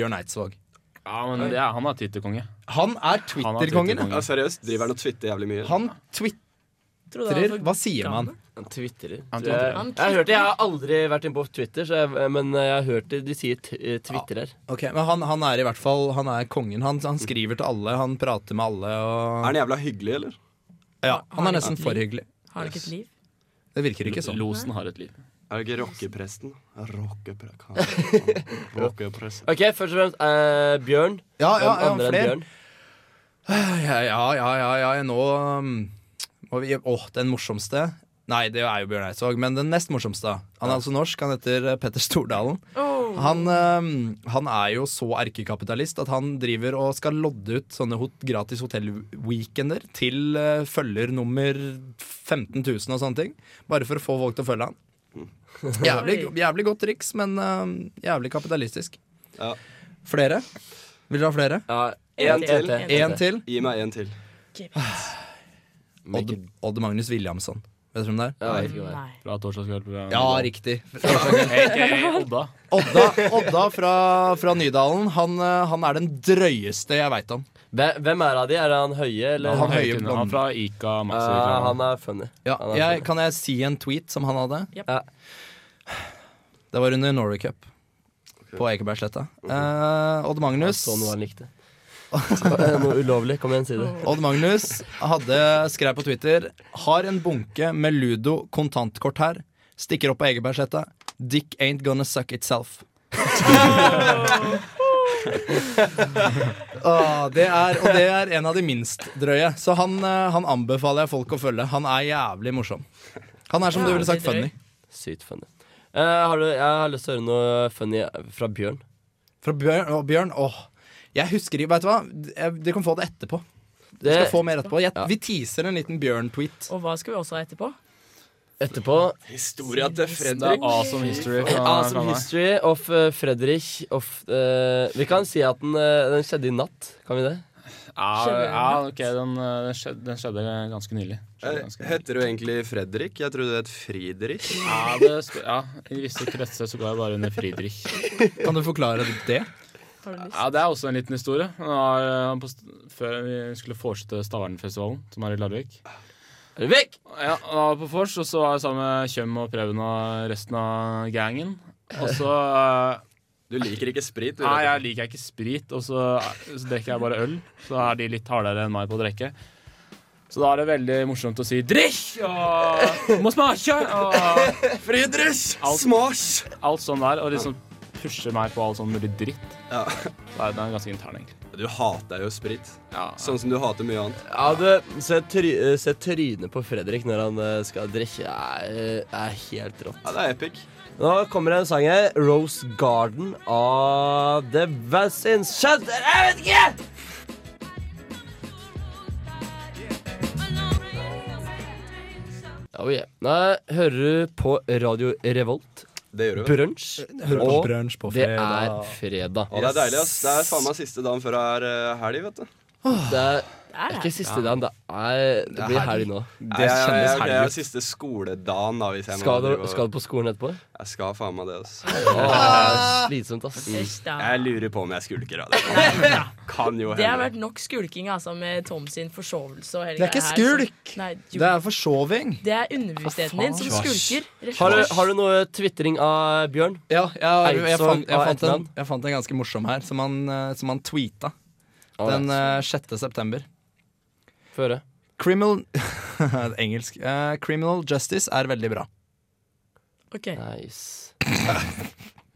S6: Bjørn Eidsvåg.
S8: Ja, men det er, han er tittelkonge.
S6: Han er
S8: Han er
S6: Twitter-kongen.
S8: Twitter-kongen.
S4: Ja, seriøst? Driver han og twitter jævlig mye?
S6: Han twitrer
S7: Trodde han var for
S6: Hva sier man?
S7: gammel.
S5: Han twitterer.
S8: Han
S5: Jeg, jeg,
S7: twitterer.
S5: har hørt det. jeg har aldri vært inne på Twitter, så jeg, men eh, jeg har hørt det, de sier t- eh, twitterer.
S6: Ok, men han, han er i hvert fall Han er kongen. Han, han skriver til alle, han prater med alle.
S4: Er
S6: Og,
S4: han jævla hyggelig, eller?
S6: ja, han er nesten for hyggelig.
S7: Har han ikke et liv?
S6: Det virker ikke sånn.
S8: Losen har et liv.
S4: Er det ikke rockepresten? Rockepresten Rockepresten
S5: Ok, først og fremst eh, Bjørn.
S6: Ja, ja,
S5: Hvem
S6: ja,
S5: andre enn
S6: flere.
S5: Bjørn?
S6: Ja, ja, ja, ja, ja nå um, må vi- Åh, den morsomste Nei, det er jo Bjørn Eidsvåg, men den nest morsomste. da. Han er altså norsk, han heter eh, Petter Stordalen.
S7: Oh,
S6: Han, um, han er jo så erkekapitalist at han driver og skal lodde ut sånne hot gratis hotellweekender til eh, følger nummer 15 000 og sånne ting. Bare for å få folk til å følge han. Jævlig, jævlig godt triks, men um, jævlig kapitalistisk.
S4: Ja.
S6: Flere? Vil dere ha flere?
S5: Ja,
S7: En
S5: en
S7: til.
S5: til.
S6: Én til.
S4: Gi meg en til.
S6: Odd, Odd Magnus Williamson. Vet du hvem det er?
S5: Ja, jeg vet ikke hva det er.
S7: nei.
S8: Fra torsdagskveld.
S6: Ja, riktig.
S8: riktig. Odda.
S6: Odda, Odda fra, fra Nydalen. Han, eh, han er den drøyeste jeg veit om.
S5: Hvem- Hvem er av de? Er det han høye, eller?
S6: Han
S8: Han,
S6: høye
S8: høye
S6: blonde.
S8: han er fra Ica Maxi.
S5: Eh, han er funny.
S6: Ja,
S5: Han er
S6: jeg, kan jeg si en tweet som han hadde?
S7: Japp.
S5: Ja.
S6: Det var under Norway Cup på Ekebergsletta. Eh, Odd
S5: Jeg
S6: Magnus
S5: så noe han likte. Eh, Noe ulovlig. Kom igjen, si det.
S6: Odd Magnus hadde skrev på Twitter Har en bunke med Ludo kontantkort her. Stikker opp på Ekebergsletta. Dick ain't gonna suck itself. Ah, det er, og det er en av de minst drøye. Så han, eh, han anbefaler jeg folk å følge. Han er jævlig morsom. Han er som du ville sagt
S7: Jævlig drøy.
S6: funny.
S5: Sykt funny. Eh, har du, jeg har lyst til å høre noe funny fra Bjørn.
S6: Fra Bjørn, å, Bjørn åh. Jeg husker ikke, vet du hva? Jeg- Dere kan få det etterpå. Vi skal
S5: Det,
S6: få mer etterpå. Jeg,
S5: Ja.
S6: Vi teaser en liten Bjørn-tweet.
S7: Og hva skal vi også ha etterpå?
S5: etterpå
S4: Historia til
S8: Det er awesome history. Fra, fra
S5: Awesome
S8: meg.
S5: History of eh, Fredrik of eh, Vi kan si at den, eh, den skjedde i natt. Kan vi det?
S8: Ja,
S7: Skjedde den
S8: ja, ok, den, eh, den, skjedde, den skjedde ganske nylig. Skjedde ganske nylig.
S4: Eh, Heter du egentlig Fredrik? Jeg trodde det het Friedrich.
S8: Ja, det, sp- ja, I visse kretser så går jeg bare under Friedrich.
S6: Kan du forklare det?
S7: Har du lyst?
S8: Ja, Det er også en liten historie. Han var, eh, på, st- før vi skulle fortsette Stavernfestivalen, som er i Larvik.
S5: Er du vekk?
S8: Ja, han var på vors, og så var jeg sammen med Kjøm og Preben og resten av gangen. Og så eh,
S4: Du liker ikke sprit? du,
S8: Nei,
S4: rett og
S8: jeg liker ikke sprit, og så, eh, så drikker jeg bare øl. Så er de litt hardere enn meg på å drikke. Så da er det veldig morsomt å si 'drikk' og 'må smake' og
S4: slett. Smash!
S8: alt sånn der. Og liksom pusher meg på all sånn mulig dritt.
S4: Ja.
S8: Så er den ganske intern, egentlig.
S4: Du hater jo sprit.
S8: Ja.
S4: Sånn som du hater mye annet.
S5: Ja, du Se, try, eh, se trynet på Fredrik når han eh, skal drikke. Det er, eh, er helt rått.
S4: Ja, det er epic.
S5: Nå kommer det en sang her. Rose Garden av The Vaccines. Shut Jeg vet ikke! Oh, yeah. Nei, hører du på Radio Revolt?
S4: Det gjør du. vel?
S5: Brunsj?
S6: Hører på
S5: Og
S6: brunsj på
S5: det
S6: fredag.
S5: er fredag.
S4: Ja, det er deilig, ass. Det er faen meg siste dagen før det er eh, helg, vet du.
S5: Det er
S7: Det er
S5: ikke
S7: det.
S5: siste dagen, det er Det blir helg nå.
S4: Nei, jeg- jeg-
S6: kjennes
S4: jeg-
S6: helg
S4: Det er
S6: ut.
S4: siste skoledagen, da, hvis jeg må
S5: Skal du,
S4: drive og-
S5: skal du på skolen etterpå?
S4: Jeg skal faen meg det, ass.
S5: Å, det er slitsomt, ass.
S7: Æsj, da.
S4: Jeg lurer på om jeg skulker av det. Kan jo
S7: Det har
S4: hende.
S7: vært nok skulking altså, med Tom sin forsovelse og hele
S6: Det er ikke
S7: greia her, så-
S6: skulk!
S7: Nei, jo,
S6: Det er forsoving.
S7: det er underbevisstheten din som skulker. rett og
S5: Har du,
S7: slett.
S5: har du noe tvitring av Bjørn?
S6: Ja, jeg, jeg,
S5: Eidsvåg
S6: fant, jeg,
S5: av
S6: fant en,
S5: etternavn.
S6: jeg fant en ganske morsom her, som han, eh, som han tweeta
S5: Å,
S6: den
S5: ja.
S6: eh, 6. september.
S5: Få høre.
S6: Criminal Engelsk. Eh, criminal justice er veldig bra.
S7: Ok.
S5: Nice.
S6: jeg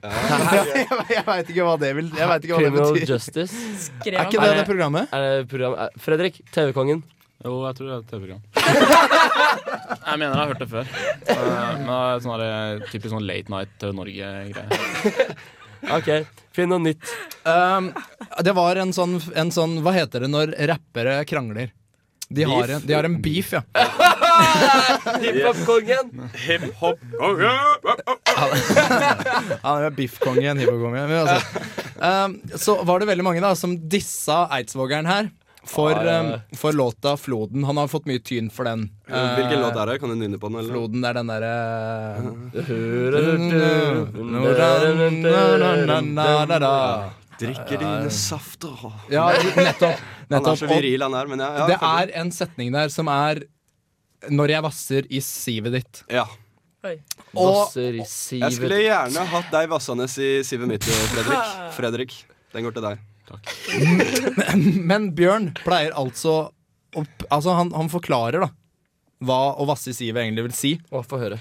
S6: jeg veit ikke hva det vil Jeg vet ikke hva det
S5: Criminal
S6: betyr.
S5: Justice.
S7: Skrev han
S6: Er ikke det det programmet?
S5: Er det program er- Fredrik, TV-kongen.
S8: Jo, jeg tror det er et TV-program. Jeg mener jeg har hørt det før. Eh, Men det er sånn her, eh, typisk sånn Late Night TV Norge-greie.
S5: OK, finn noe nytt.
S6: Um, det var en sånn, en sånn Hva heter det når rappere krangler? De har, en, de har en beef, ja.
S5: Hiphop-kongen.
S2: Hiphop
S6: Han er biff-kongen, hiphop-kongen. Men altså, um, så var det veldig mange da som dissa eidsvågeren her for,
S5: Ah, ja, ja.
S6: um, for låta 'Floden'. Han har fått mye tyn for den.
S4: Hvilken låt er det? Kan du nynne på den? eller?
S6: Floden er den derre
S4: Drikker dine safter
S6: Ja, nettopp.
S4: Han er
S6: nettopp.
S4: så
S6: Og
S4: viril, han her, men ja, ja,
S6: det
S4: føler-
S6: er en setning der som er 'Når jeg vasser i sivet ditt'.
S4: ja.
S7: Oi.
S6: Og
S5: Vasser i
S4: Jeg skulle
S5: sivet.
S4: gjerne hatt deg vassanes i sivet mitt, Fredrik. Fredrik, den går til deg.
S6: Men Bjørn pleier altså å p- Altså han, han forklarer da hva å vasse i sivet egentlig vil si.
S5: Å, få høre.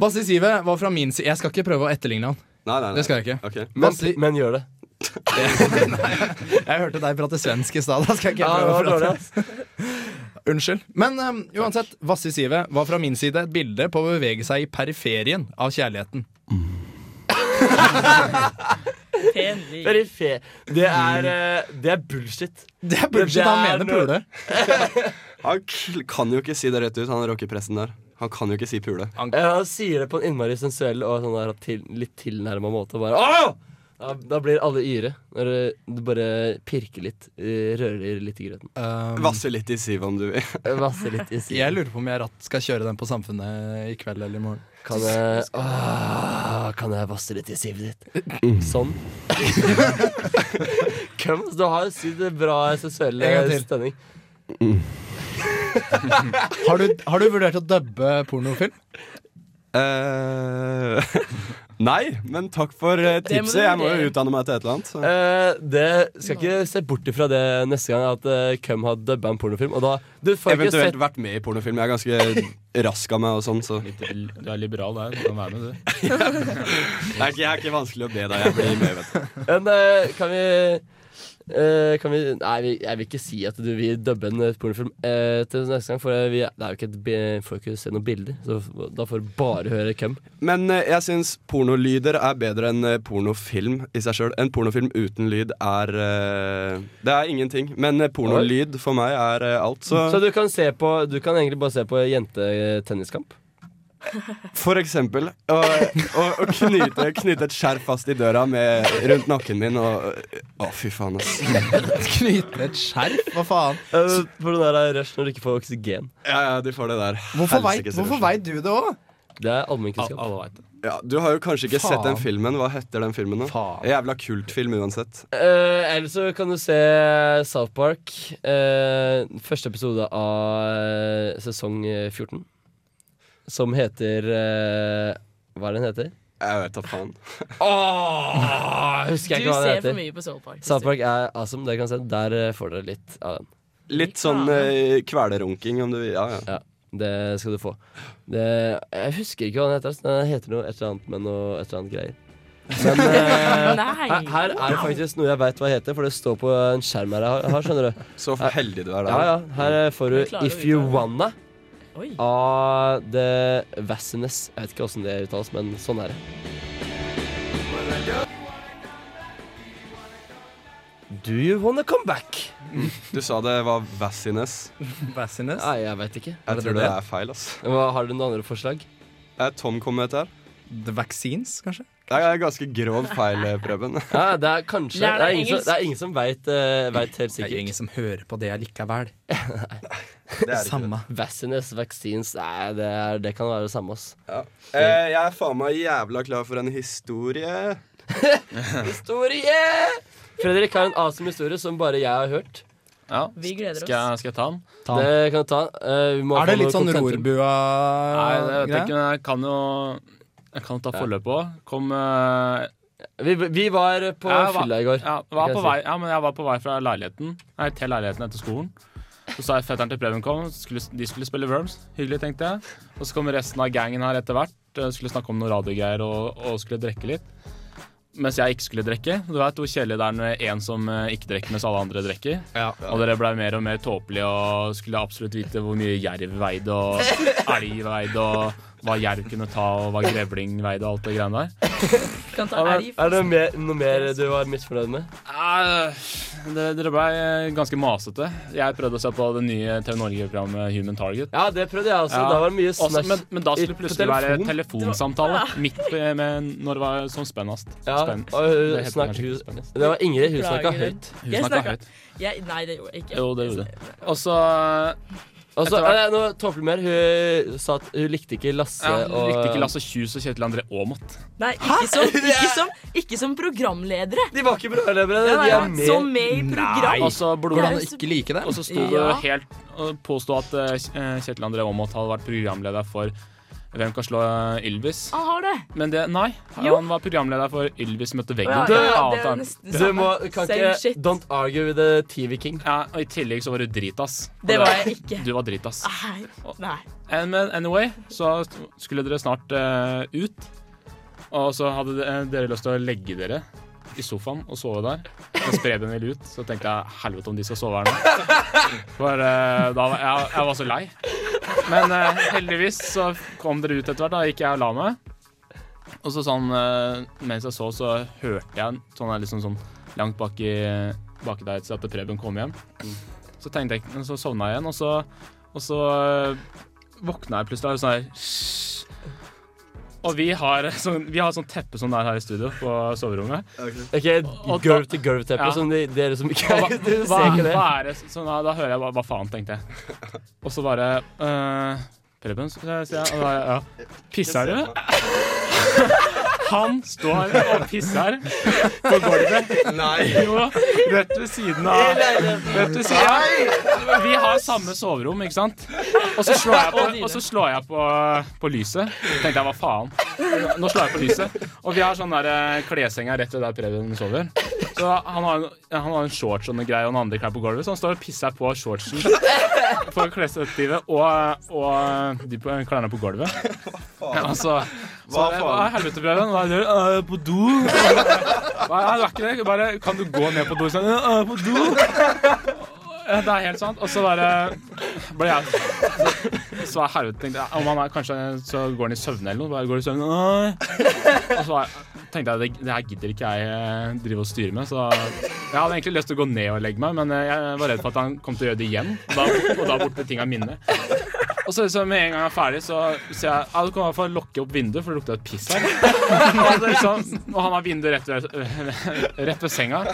S6: Vasse i sivet var fra min side Jeg skal ikke prøve å etterligne han.
S4: Nei, nei, nei.
S6: Det skal jeg ikke.
S4: Ok.
S5: Men,
S4: Men
S5: men gjør det.
S6: Jeg hørte deg prate svensk i stad. Da skal jeg ikke
S5: Ja, det var
S6: prøve å prate
S5: dårlig, ass.
S6: Unnskyld. Men um, uansett, vasse i sivet var fra min side et bilde på å bevege seg i periferien av kjærligheten.
S7: Pen liv.
S5: Perife. Det er, eh, det er bullshit.
S6: Det er bullshit.
S5: Det er
S6: Han mener
S5: noe-
S6: pule.
S4: han k- kan jo ikke si det rett ut, han rockepressen der. Han kan jo ikke si pule.
S5: Ja, han sier det på en innmari sensuell og sånn der, til, litt tilnærma måte. Bare, «Åh!» da, da blir alle yre. Når du bare pirker litt, eh, rører litt i grøten.
S6: Um,
S4: Vasse litt i sivet om du vil.
S5: Eh, Vasser litt i siden.
S6: jeg lurer på om jeg ratt skal kjøre den på Samfunnet i kveld eller i morgen.
S5: Kan jeg, åh, kan jeg vasse litt i sivet ditt? Sånn. Kom, ass, du har sydd bra sensuell
S6: En gang til.
S5: stemning.
S6: Har du, har du vurdert å dubbe pornofilm?
S4: Eh, nei, men takk for eh,
S7: Det må du
S4: tipset. Jeg må jo
S7: vurdere.
S4: utdanne meg til et eller annet. Så.
S5: Eh, det skal ikke se bort ifra det neste gang at eh, Køm har dubba en pornofilm. Og da Du får ikke
S4: Eventuelt
S5: sett
S4: vært med i pornofilm. Jeg er ganske rask av meg og sånn, så
S8: Litt- Du er liberal der, du kan være med, du.
S4: det er, ikke, jeg er ikke vanskelig å be deg. Jeg blir med, vet du.
S5: Men eh, kan vi eh, kan vi, nei, vi- jeg vil ikke si at du vil dubbe en pornofilm eh, til neste gang. For eh, vi, det er jo ikke et, bi- får ikke se noen bilder, så f- da får du bare høre hvem.
S4: Men eh, jeg syns pornolyder er bedre enn eh, pornofilm i seg sjøl. En pornofilm uten lyd er eh, Det er ingenting. Men eh, pornolyd for meg er eh, alt. Så,
S5: Så du kan, se på, du kan egentlig bare se på jentetenniskamp.
S4: for eksempel å, å, å knyte, knyte et skjerf fast i døra med, rundt nakken min og Å, fy faen, ass.
S6: Knyte et skjerf? Hva faen?
S5: Uh, på den der rush når du ikke får oksygen.
S4: Ja, ja, de får det der.
S6: Hvorfor
S4: Helsikes
S6: veit hvorfor
S4: rush.
S6: veit du det òg?
S5: Det er
S8: Al-
S5: allmennkunnskap.
S8: Alle veit det.
S4: Ja, du har jo kanskje ikke sett den
S6: Faen.
S4: filmen. Hva heter den filmen, da?
S6: Faen.
S4: Jævla kultfilm uansett.
S5: Uh, Eller så kan du se South Park. eh, første episode av eh, sesong eh, 14. Som heter eh, Hva er det den heter?
S4: Jeg vet da faen.
S5: Åh, husker Ah, jeg
S7: Du
S5: ikke hva det
S7: ser for
S5: heter.
S7: mye på Soul Park.
S5: South Park er awesome. Dere kan se. den. Der eh, får dere litt av den.
S4: Litt sånn eh, kvelerunking, om du vil. Ja, ja.
S5: Ja, Det skal du få. Det, jeg husker ikke hva den heter. ass. Den heter noe et eller annet med noe et eller annet greier. Men eh,
S7: Nei.
S5: her, her er det faktisk noe jeg veit hva heter, for det står på en skjerm her, jeg har- her skjønner du.
S4: Så heldig du er der.
S5: Ja, ja, Her eh, får
S7: Jeg
S5: du
S7: klarer å
S5: If You
S7: uttale det.
S5: Wanna
S7: Oi.
S5: av The Vassines. Jeg vet ikke åssen det uttales, men sånn er det. Do you wanna come back?
S4: Du sa det var Vassines.
S6: Bassiness?
S5: Nei, jeg veit ikke.
S4: Jeg
S6: det
S4: tror
S6: det
S4: det
S6: det?
S4: er feil, ass.
S5: Hva, har du noen andre forslag?
S4: Er Tom kommet der?
S6: The Vaccines, kanskje?
S4: Det er ganske grov feil, eh, Preben.
S5: Ja, det er kanskje Det
S7: Lær deg
S5: er ingen som,
S7: engelsk.
S5: det er ingen som veit eh, veit helt
S6: Det er jo
S5: sikkert.
S6: ingen som hører på det likevel. Samme.
S5: Vaccines, vaccines Nei, det, er, det kan være det samme, ass.
S4: Ja. Eh, jeg er faen meg jævla klar for en historie.
S5: Historie! Fredrik har en awesome historie som bare jeg har hørt.
S8: Ja.
S7: Vi gleder oss.
S8: Skal jeg, skal jeg ta den?
S6: Ta den.
S5: Det kan du ta. Eh, vi må
S6: Er det
S5: få
S6: litt
S5: noe
S6: sånn
S5: contentum.
S8: Nei, det, jeg,
S6: Rorbuer-greie?
S8: tenker, jeg kan jo Jeg kan ta forløpet òg. Kom eh,
S5: Vi, vi var på
S8: Jeg var-
S5: fylla i går.
S8: Ja,
S5: Det
S8: var
S5: kan
S8: på
S5: jeg
S8: vei, ja, men jeg var på vei fra leiligheten Nei, til leiligheten etter skolen. Så sa jeg fetteren til Preben kom, skulle, de skulle spille Worms. Hyggelig, tenkte jeg. Og så kom resten av gangen her etter hvert. eh, Skulle snakke om noen radiogreier og, og skulle drikke litt. Mens jeg ikke skulle drikke. Du vet hvor kjedelig det er når en som eh, ikke drikker, mens alle andre drikker. Og dere ble mer og mer tåpelige og skulle absolutt vite hvor mye jerv veide og elg veide, og hva jerv kunne ta, og hva grevling veide, og alt det greiene der.
S7: Kan ta
S5: Er
S7: elg.
S5: det, er det mer, noe mer du var misfornøyd med?
S8: Eh, det- Dere blei ganske masete. Jeg prøvde å se på det nye TV Norge-programmet Human Target.
S5: Ja, det prøvde jeg også.
S8: Ja.
S5: Da var det mye
S8: Også-
S5: snacks
S8: men, men da
S5: i-
S8: skulle det
S5: på
S8: plutselig være
S5: telefon.
S8: telefonsamtale midt med, med når det var som spennast.
S5: Ja,
S8: Spenn-
S5: og hun
S8: Det heter
S5: snakk-
S8: kanskje ikke
S5: hun-
S8: spennast.
S5: det var Ingrid, hun snakka
S7: Beklager.
S5: høyt.
S8: Hun Eh,
S7: Jeg
S8: snakket
S7: snakket-
S8: høyt.
S7: Jeg, nei, det gjorde jeg ikke.
S8: Jo, det gjorde det. Og så
S5: Og så,
S8: Etter hvert-
S5: eh, nå tåpelig mer, hun sa at hun likte ikke Lasse
S8: ja,
S5: og
S8: likte ikke Lasse Kjus og Kjetil André Aamodt.
S7: Nei, ikke som, ikke, som, ikke som programledere.
S5: De var ikke programledere,
S7: Ja,
S5: de
S7: ja,
S5: er med. Altså,
S7: Som med i program.
S8: Og så burde
S7: Hvordan
S8: han
S7: ikke
S6: Ikke like det.
S8: Og så sto det
S7: Ja.
S8: helt og påstod at eh, Kj- eh, Kjetil André Aamodt hadde vært programleder for Hvem kan slå eh, Ylvis?
S7: Han har det.
S8: Men det, nei,
S7: Jo.
S8: han var programleder for Ylvis møtte veggen.
S7: Ja,
S5: Det-
S7: ja,
S8: Annet
S7: det er jo
S8: enn-
S7: nesten det
S5: Du
S7: samme.
S5: må, kan
S7: Same
S5: ikke
S7: shit.
S5: Don't argue with the TV King.
S8: ja, og I tillegg så var du dritass. Og
S7: Det var jeg ikke.
S8: Du var dritass.
S7: Nei. Nei.
S8: Eh, Men anyway, så skulle dere snart eh, ut. Og så hadde de- eh, dere lyst til å legge dere i sofaen og sove der. Mens Preben ville ut. Så tenkte jeg helvete om de skal sove her nå. For eh, da var jeg, jeg var så lei. Men eh, heldigvis så kom dere ut etter hvert. Da gikk jeg og la meg. Og så sånn eh, mens jeg sov, så hørte jeg sånn, der liksom sånn langt bak i bak i deg til at Preben kom hjem. Så tenkte jeg, men så sovna jeg igjen, og så, og så eh, våkna jeg plutselig av sånn her «Hysj». Og vi har, sånn, vi har sånn teppe som det er her i studio på soverommet.
S5: Ok,
S8: Og da-
S5: Girl to girl-teppet,
S8: Ja.
S5: som de, dere som ikke
S8: Og
S5: er
S8: hva, hva,
S5: Dere ser ikke det.
S8: hva er det? Så da, da hører jeg hva, hva faen, tenkte jeg. Og så bare eh, Preben, så sier jeg. Og da, ja. Pisser du? Han står og pisser på gulvet.
S4: Nei.
S8: Jo, rett ved siden av Rett ved siden av Vi har samme soverom, ikke sant? Og så slår jeg på, og så slår jeg på, på lyset. Tenkte jeg, hva faen? Nå slår jeg på lyset. Og vi har sånn der eh, klessenga rett ved der Preben sover. Så han har, en, han har en shorts og noe greier og noen andre klær på gulvet, så han står og pisser på shortsen på klesstativet og, og de på, klærne på gulvet. Ja, altså, hva
S4: faen?
S8: Hva er helvete, Preben? Hva gjør du? «Øh, På do? Nei, nei, det er ikke det. Bare, kan du gå ned på do? Sånn, «Øh, på do? Ja, Det er helt sant. Og så bare ble jeg så, så var jeg helvete tenkte jeg, om han er, Kanskje så går han i søvne eller noe. Bare går i søvne, nei. Og så var jeg, tenkte jeg det, det her gidder ikke jeg eh, drive og styre med. Så jeg hadde egentlig lyst til å gå ned og legge meg, men eh, jeg var redd for at han kom til å gjøre det igjen. Og da, og da borte tinga mine. Og så, så med en gang jeg er ferdig, så sier jeg ja, du kan i hvert fall lukke opp vinduet, for det lukter et piss her. og, det, liksom- og han har vinduet rett ved, rett ved senga.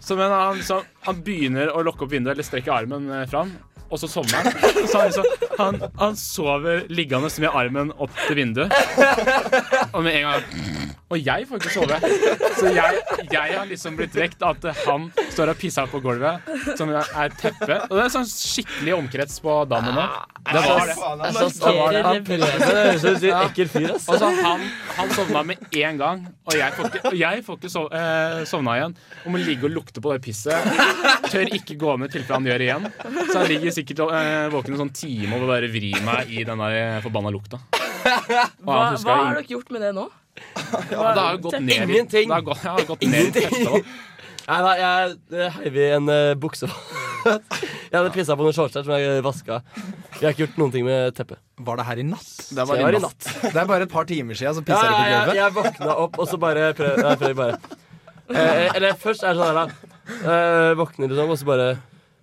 S8: Så men han, liksom- han begynner å lokke opp vinduet, eller strekke armen eh, fram. Og så sovner han. Så han, liksom, han, han sover liggende med armen opp til vinduet. Og med en gang Og jeg får ikke sove. Så jeg, jeg har liksom blitt vekt av at han står og pisser på gulvet, som er teppe. Og det er sånn skikkelig omkrets på dammen nå. Det var det.
S5: Jeg så
S7: Ah,
S5: stemmer av Preben. Det høres ut som en ekkel fyr, ass.
S8: Altså, han, han sovna med en gang, og jeg får ikke, og jeg får ikke sov, eh, sovna igjen. Og må ligge og lukte på det pisset. Tør ikke gå med i tilfelle han gjør det igjen. Så han ligger sikkert eh, våken en sånn time og bare vrir meg i den der eh, forbanna lukta. Og
S7: Hva,
S8: han
S7: hva
S8: husker
S7: har
S8: det.
S7: dere gjort med det nå?
S8: Ja, det har jo gått ned i-
S5: Ingenting.
S8: Det har gått, jeg har gått ned i
S5: Ingenting.
S8: teppet.
S5: Nei, nei, jeg eh, heiv i en eh, bukse. jeg hadde pissa på noen shorts der som jeg vaska. Jeg har ikke gjort noen ting med teppet.
S6: Var det her i natt?
S8: da. Det
S5: Det
S8: var
S5: var
S8: i natt.
S6: Det er bare et par timer siden, så
S5: Ja,
S6: pisser
S5: ja,
S6: de på
S5: jeg,
S6: gulvet.
S5: jeg våkna opp, og så bare prøv, nei, prøv bare. Eh, Eller først er det sånn her, da. Eh, våkner liksom, og så bare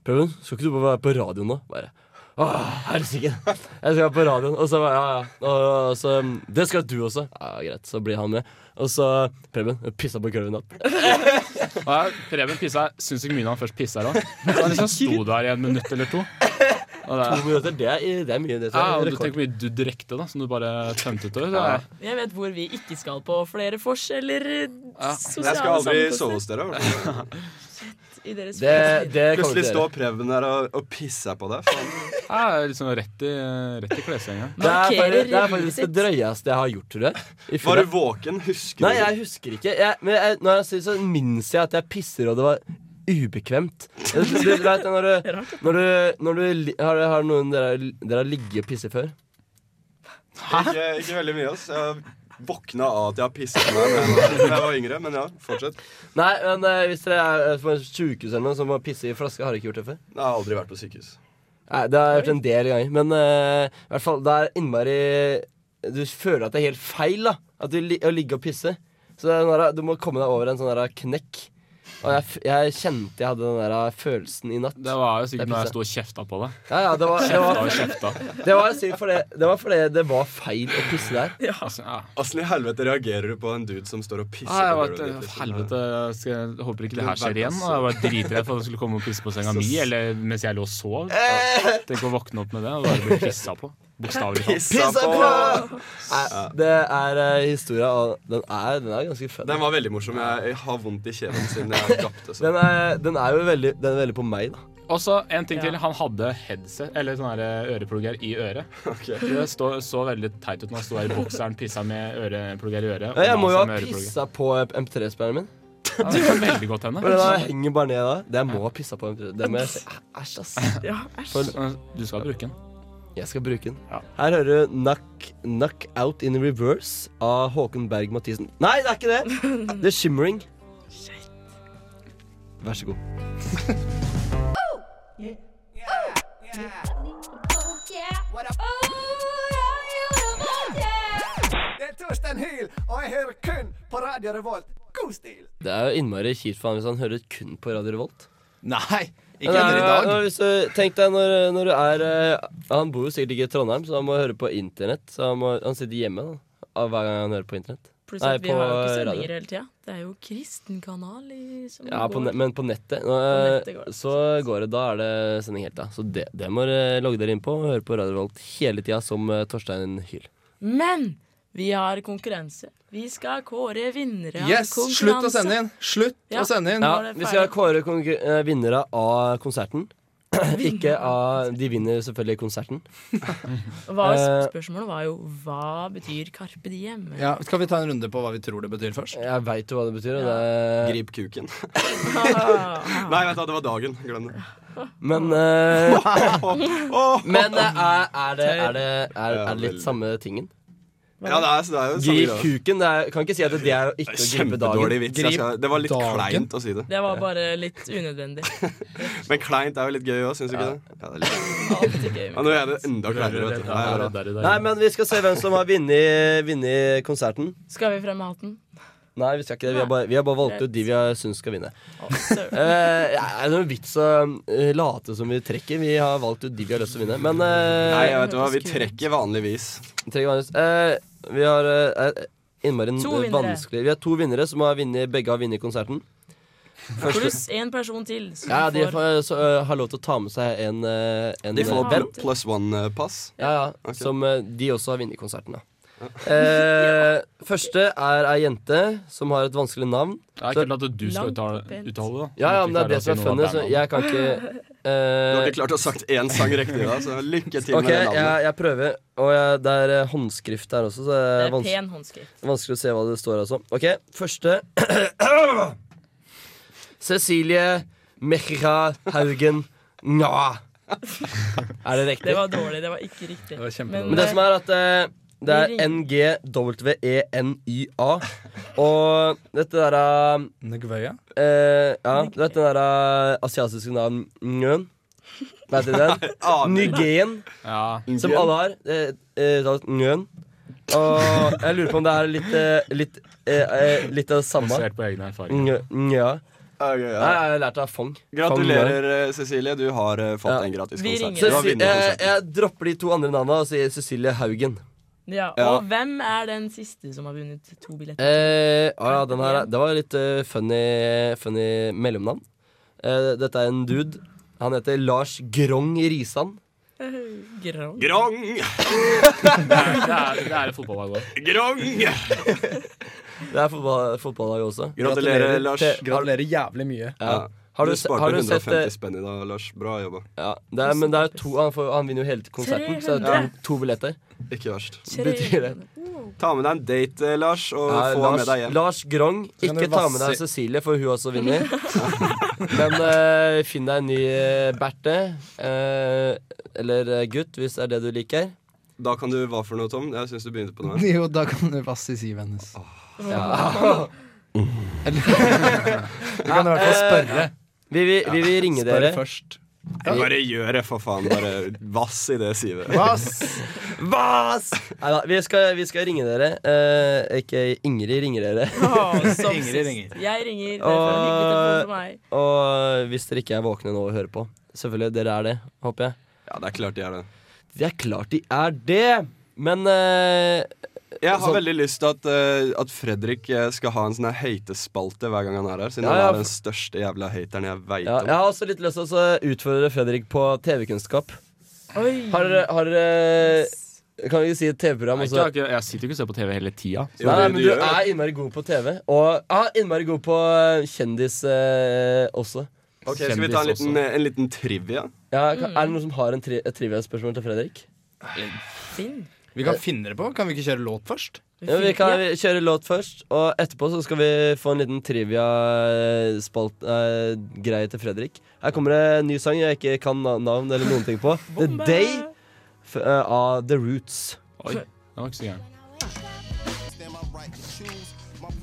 S5: Prøven, skal ikke du bare være på radioen nå? Bare Åh, helsike. Jeg skal være på radioen. Og så bare, ja, ja. Og, og så, mm, det skal du også. Ja, Greit, så blir han med. Og så Preben. jeg Pissa på gulvet i natt.
S8: Og jeg- Preben pissa sinnssykt mye når han først pissa her òg. Han liksom sto der i et minutt eller to. Og det,
S5: To minutter, det er, det er mye. Det,
S8: ja,
S5: tror jeg.
S8: og Ah, du
S5: Rekord.
S8: tenker hvor mye du drekte, da, som du bare tømte utover. Det er-
S7: Jeg vet hvor vi ikke skal på flere eh, forskjeller. Ja,
S4: Jeg skal aldri sove hos dere. i hvert fall.
S7: I deres
S5: det, det kommer
S4: Plutselig
S5: til å
S4: står Preben der og, og pisser på deg. Faen.
S8: Ja, liksom rett i, rett i klessenga.
S5: Det er, faktisk, det er
S7: Markerer livet
S5: faktisk det
S7: sitt.
S5: drøyeste jeg har gjort, tror jeg. I
S4: Var
S5: fylla.
S4: du våken? Husker
S5: Nei,
S4: du det?
S5: sånn, jeg husker ikke. Jeg, men jeg, når jeg sier så minnes jeg at jeg pisser, og det var ubekvemt. Du, du vet det når du, når du, når du li- har, har noen dere, dere har ligget og pisset før?
S4: Ikke, ikke veldig mye, ass. Jeg våkna av at jeg har pisset meg da jeg var- da jeg var yngre. Men ja, fortsett.
S5: Nei, men eh, hvis dere er eh, på sjukehus eller noe som må pisse i flaske, har dere ikke gjort det før?
S4: Jeg har aldri vært på sykehus.
S5: Nei, det har jeg gjort en del ganger. Men eh, i hvert fall, det er innmari Du føler at det er helt feil da At du li å ligge og pisse. Så det er den der, du må komme deg over en sånn der knekk. Og jeg, f jeg kjente jeg hadde den der følelsen i natt.
S8: Det var jo sikkert
S5: Da
S8: når jeg
S5: pisset
S8: sto og kjefta på deg.
S5: Ja, ja, det var, det
S8: Kjefta
S5: var,
S8: og kjefta.
S5: det var sykt fordi det var, fordi det var feil å pisse der.
S8: Altså,
S4: Åssen i helvete reagerer du på en dude som står og pisser
S8: Ah, jeg
S4: på
S8: vet,
S4: gulvet ditt, liksom?
S8: helvete,
S5: eh,
S8: skal jeg, jeg håper ikke det her skjer
S4: Du
S8: igjen. Og jeg var dritredd for at du skulle komme og pisse på senga mi Eller mens jeg lå og
S5: Eh!
S8: sov. Ja, Tenk å våkne opp med det og bare bli pissa på. Bokstavelig talt.
S5: Pissa på! Nei, det er uh, historia, og den er, den er ganske fun.
S4: Den var veldig morsom. Jeg, jeg har vondt i kjeven siden jeg drapte.
S5: Den er, eh, den er jo veldig, den er veldig på meg, da.
S8: Og så en ting til. Han hadde headset, eller sånn her øreplugger i øret. Det så, så veldig teit ut når han sto her i bokseren, pissa med øreplugger i øret. og
S5: Ja, Jeg
S8: la
S5: må
S8: seg
S5: jo ha
S8: med øreplugger.
S5: pissa på MP3-spilleren min.
S8: Ja, det kan veldig godt hende.
S5: Men den her henger bare ned da. Det jeg må ha pissa på MP3. Det må jeg si. Æsj, ass.
S8: For- eh, Du skal bruke den.
S5: Jeg skal bruke den. Her hører du knock, knock Out in Reverse av Håkon Berg-Mathisen. Nei, det er ikke det! The Shimmering. Vær så god.
S11: Det er Torstein Hyl, og jeg hører kun på Radio Revolt. God stil!
S5: Det er jo innmari kjipt for han hvis han hører kun på Radio Revolt.
S6: Nei, ikke
S5: Men det er
S6: heller i
S5: jo-
S6: dag.
S5: nå, Hvis du, tenk deg når, når du er eh, Han bor jo sikkert ikke i Trondheim, så han må høre på internett. Så han, må, han sitter hjemme da, av hver gang han hører på internett.
S7: Pluss
S5: Nei,
S7: at vi har jo ikke
S5: radio.
S7: sendinger hele tida. Det er jo kristen kanal i, som
S5: Ja, på
S7: går.
S5: ne men på nettet, nå, eh,
S7: nettet går det.
S5: så går det. Da er det sending helt, da. Så det, det må dere logge dere inn på og høre på Radio Revolt hele tida som eh, Torstein Hyl.
S7: Men vi har konkurranse. Vi skal kåre vinnere av
S6: Yes,
S7: konkurranse.
S6: slutt å sende inn! Slutt
S7: Ja.
S6: å sende inn!
S7: Nå er det
S5: vi
S7: ferdig.
S5: skal kåre konkur- eh, vinnere av konserten. Ikke av De vinner selvfølgelig konserten.
S7: Hva,
S5: Eh,
S7: spørsmålet var jo hva betyr Carpe Diem?
S6: Ja, skal vi ta en runde på hva vi tror det betyr først?
S5: Jeg veit jo hva det betyr. og Det...
S4: Grip kuken. Nei, vent da, det var dagen. Glem det.
S5: Men eh, Men eh, er, er, det, er, det, er,
S4: Ja,
S5: er det litt
S4: veldig.
S5: samme tingen?
S4: Ja, det er, det er jo samme
S5: Grip
S4: greia.
S5: kuken. Det er, kan ikke si at det er å ikke å gripe
S4: Kjempedårlig
S5: dagen.
S4: vits. Jeg skal, det var litt
S6: dagen.
S4: kleint å si det.
S7: Det var bare litt unødvendig.
S4: Men kleint er jo litt gøy òg, syns du ikke det? Ja, det er litt.
S7: Alltid gøy.
S4: Ja, nå er det enda kleinere, vet du. Nei, bra.
S5: Nei, men vi skal se hvem som har vunnet vunnet konserten.
S7: Skal vi fremme hatten?
S5: Nei, vi skal ikke det. Vi har bare, vi har bare valgt ut de vi har syns skal vinne.
S7: Å, søren.
S5: Eh, ja, det er noen vits å eh, late som vi trekker. Vi har valgt ut de vi har lyst til å vinne. Men eh,
S4: Nei, vet du hva, vi trekker vanligvis.
S5: trekker vanligvis. Eh, vi har eh, eh, innmari en
S7: To
S5: eh,
S7: vinnere.
S5: vanskelig Vi har to vinnere som har vunnet, begge har vunnet konserten.
S7: Pluss en person til. Som
S5: Ja, de
S7: får,
S5: får, så, eh, har lov til å ta med seg en, eh, en
S4: De får
S5: eh, venn.
S4: pl- plus one-pass.
S5: Ja, ja, Som eh, de også har vunnet konserten, da. Eh, Første er ei jente som har et vanskelig navn.
S8: Det er
S5: Så-
S8: kult at du skal uttale,
S7: bent.
S8: uttale det.
S5: Ja, ja,
S8: At du
S5: men det er
S8: klarer
S5: det
S8: å si
S5: som er
S8: noe
S5: funnet,
S8: av
S5: så
S8: bandnavnet.
S5: jeg kan ikke
S4: Du
S5: eh,
S4: har ikke klart å ha sagt én sang riktig i dag, så lykke til
S5: Ok,
S4: med det
S5: jeg,
S4: navnet.
S5: jeg prøver. Og jeg, det er eh, håndskrift der også, så det
S7: det
S5: er
S7: er
S5: vans
S7: pen håndskrift.
S5: vanskelig å se hva det står. Altså. Ok, første Cecilie Mechra Haugen Nga. Er det riktig?
S7: Det var dårlig. Det var ikke riktig.
S6: var kjempedårlig.
S5: Men det som er at eh, det er
S7: Vi
S5: E NGWENYA. Og dette derre
S6: Negvøya?
S5: eh, Ja, du vet den derre asiatiske navn Njøn? Vet dere den?
S4: Ah,
S5: Nygeen.
S8: Ja,
S5: Som alle har. Eh, eh, da- Njøen. Og jeg lurer på om det er litt eh, litt, eh, eh, litt av det samme.
S8: basert på egne erfaringer.
S5: Njø- Njøa.
S4: Ok, ja.
S5: Nei, jeg har lært av Fong. Fong Njøa.
S4: Gratulerer, eh, Cecilie. Du har eh, fått
S5: Ja.
S4: en gratis
S7: Vi
S4: konsert.
S7: ringer.
S4: Du har
S5: Ceci-
S4: vunnet
S5: eh,
S4: konserten.
S5: jeg dropper de to andre navnene og sier Cecilie Haugen.
S7: eh, Ja, og
S4: Ja.
S7: hvem er den siste som har vunnet to billetter?
S5: Eh, å ja, den her, er- det var litt eh, funny, funny mellomnavn. Eh, dette er en dude. Han heter Lars Grong Risan. Eh,
S7: Grong.
S4: Grong!
S8: Det er, det er et fotballag òg.
S4: Grong!
S5: Det er fotball, fotballag også.
S4: Gratulerer, Lars.
S5: til-
S6: Gratulerer jævlig mye.
S5: Ja. Har du, se-
S4: sparte
S5: har du sett
S4: 150
S5: eh,
S4: spenn i dag, Lars. Bra jobba.
S5: ja, det er, Men det er jo to, han, får, han vinner jo hele konserten, så det er to, to billetter.
S4: Ikke verst.
S5: Betyr det.
S7: Wow.
S4: Ta med deg en date, eh, Lars, og
S5: Nei,
S4: få
S5: Lars,
S4: med deg hjem.
S5: Lars Grong,
S4: kan
S5: ikke
S4: du
S5: ta med
S4: vasse-
S5: deg Cecilie, for hun også vinner. Men eh, finn deg en ny eh, Berthe, eh, eller eh, gutt, hvis det er det du liker.
S4: Da kan du hva for noe, Tom? Jeg syns du begynte på noe.
S6: Jo, da kan du vasse i sivet hennes.
S5: Ja.
S6: Eller- Du kan i hvert fall spørre.
S5: Vi vil, vi vil ringe
S4: Spør
S5: dere.
S4: først. Bare gjør det, for faen. Bare vass i det sivet.
S5: Vass! Vass! Neida, vi, skal, vi skal ringe dere. Eh, ikke Ingrid ringer dere.
S7: som sist. Jeg ringer. Det er for en hyggelig telefon for meg.
S5: og, og eh, hvis dere ikke er våkne nå og hører på. Selvfølgelig, dere er det, håper jeg.
S4: Ja, det er klart de er det.
S5: Det er klart de er det! Men eh,
S4: Jeg har
S5: sånn-
S4: veldig lyst til at, eh, at Fredrik eh, skal ha en sånn her hatespalte hver gang han er her. Siden
S5: Ja,
S4: han
S5: ja,
S4: er den
S5: for-
S4: største jævla hateren jeg veit
S5: ja,
S4: om.
S5: Jeg har også litt lyst til å utfordre Fredrik på TV-kunnskap. Har dere har dere- Kan vi ikke si et TV-program?
S8: Jeg,
S5: og så-
S8: ikke, jeg sitter jo ikke og ser på TV hele tida.
S5: Nei, nei, men du er innmari god på TV. Og ah, innmari god på eh, kjendis eh, også.
S4: Ok, Skal vi ta en liten, eh, en liten trivia?
S5: Ja, kan, Er det noen som har en tri et trivia-spørsmål til Fredrik?
S6: Vi kan finne det på. Kan vi ikke kjøre låt først?
S5: Ja, vi kan vi kjøre låt først, og etterpå så skal vi få en liten eh, trivia-greie til Fredrik. Her kommer det en ny sang jeg ikke kan na- navn eller noen ting på. The Day f eh, av The Roots.
S8: Oi, det var ikke så gæren.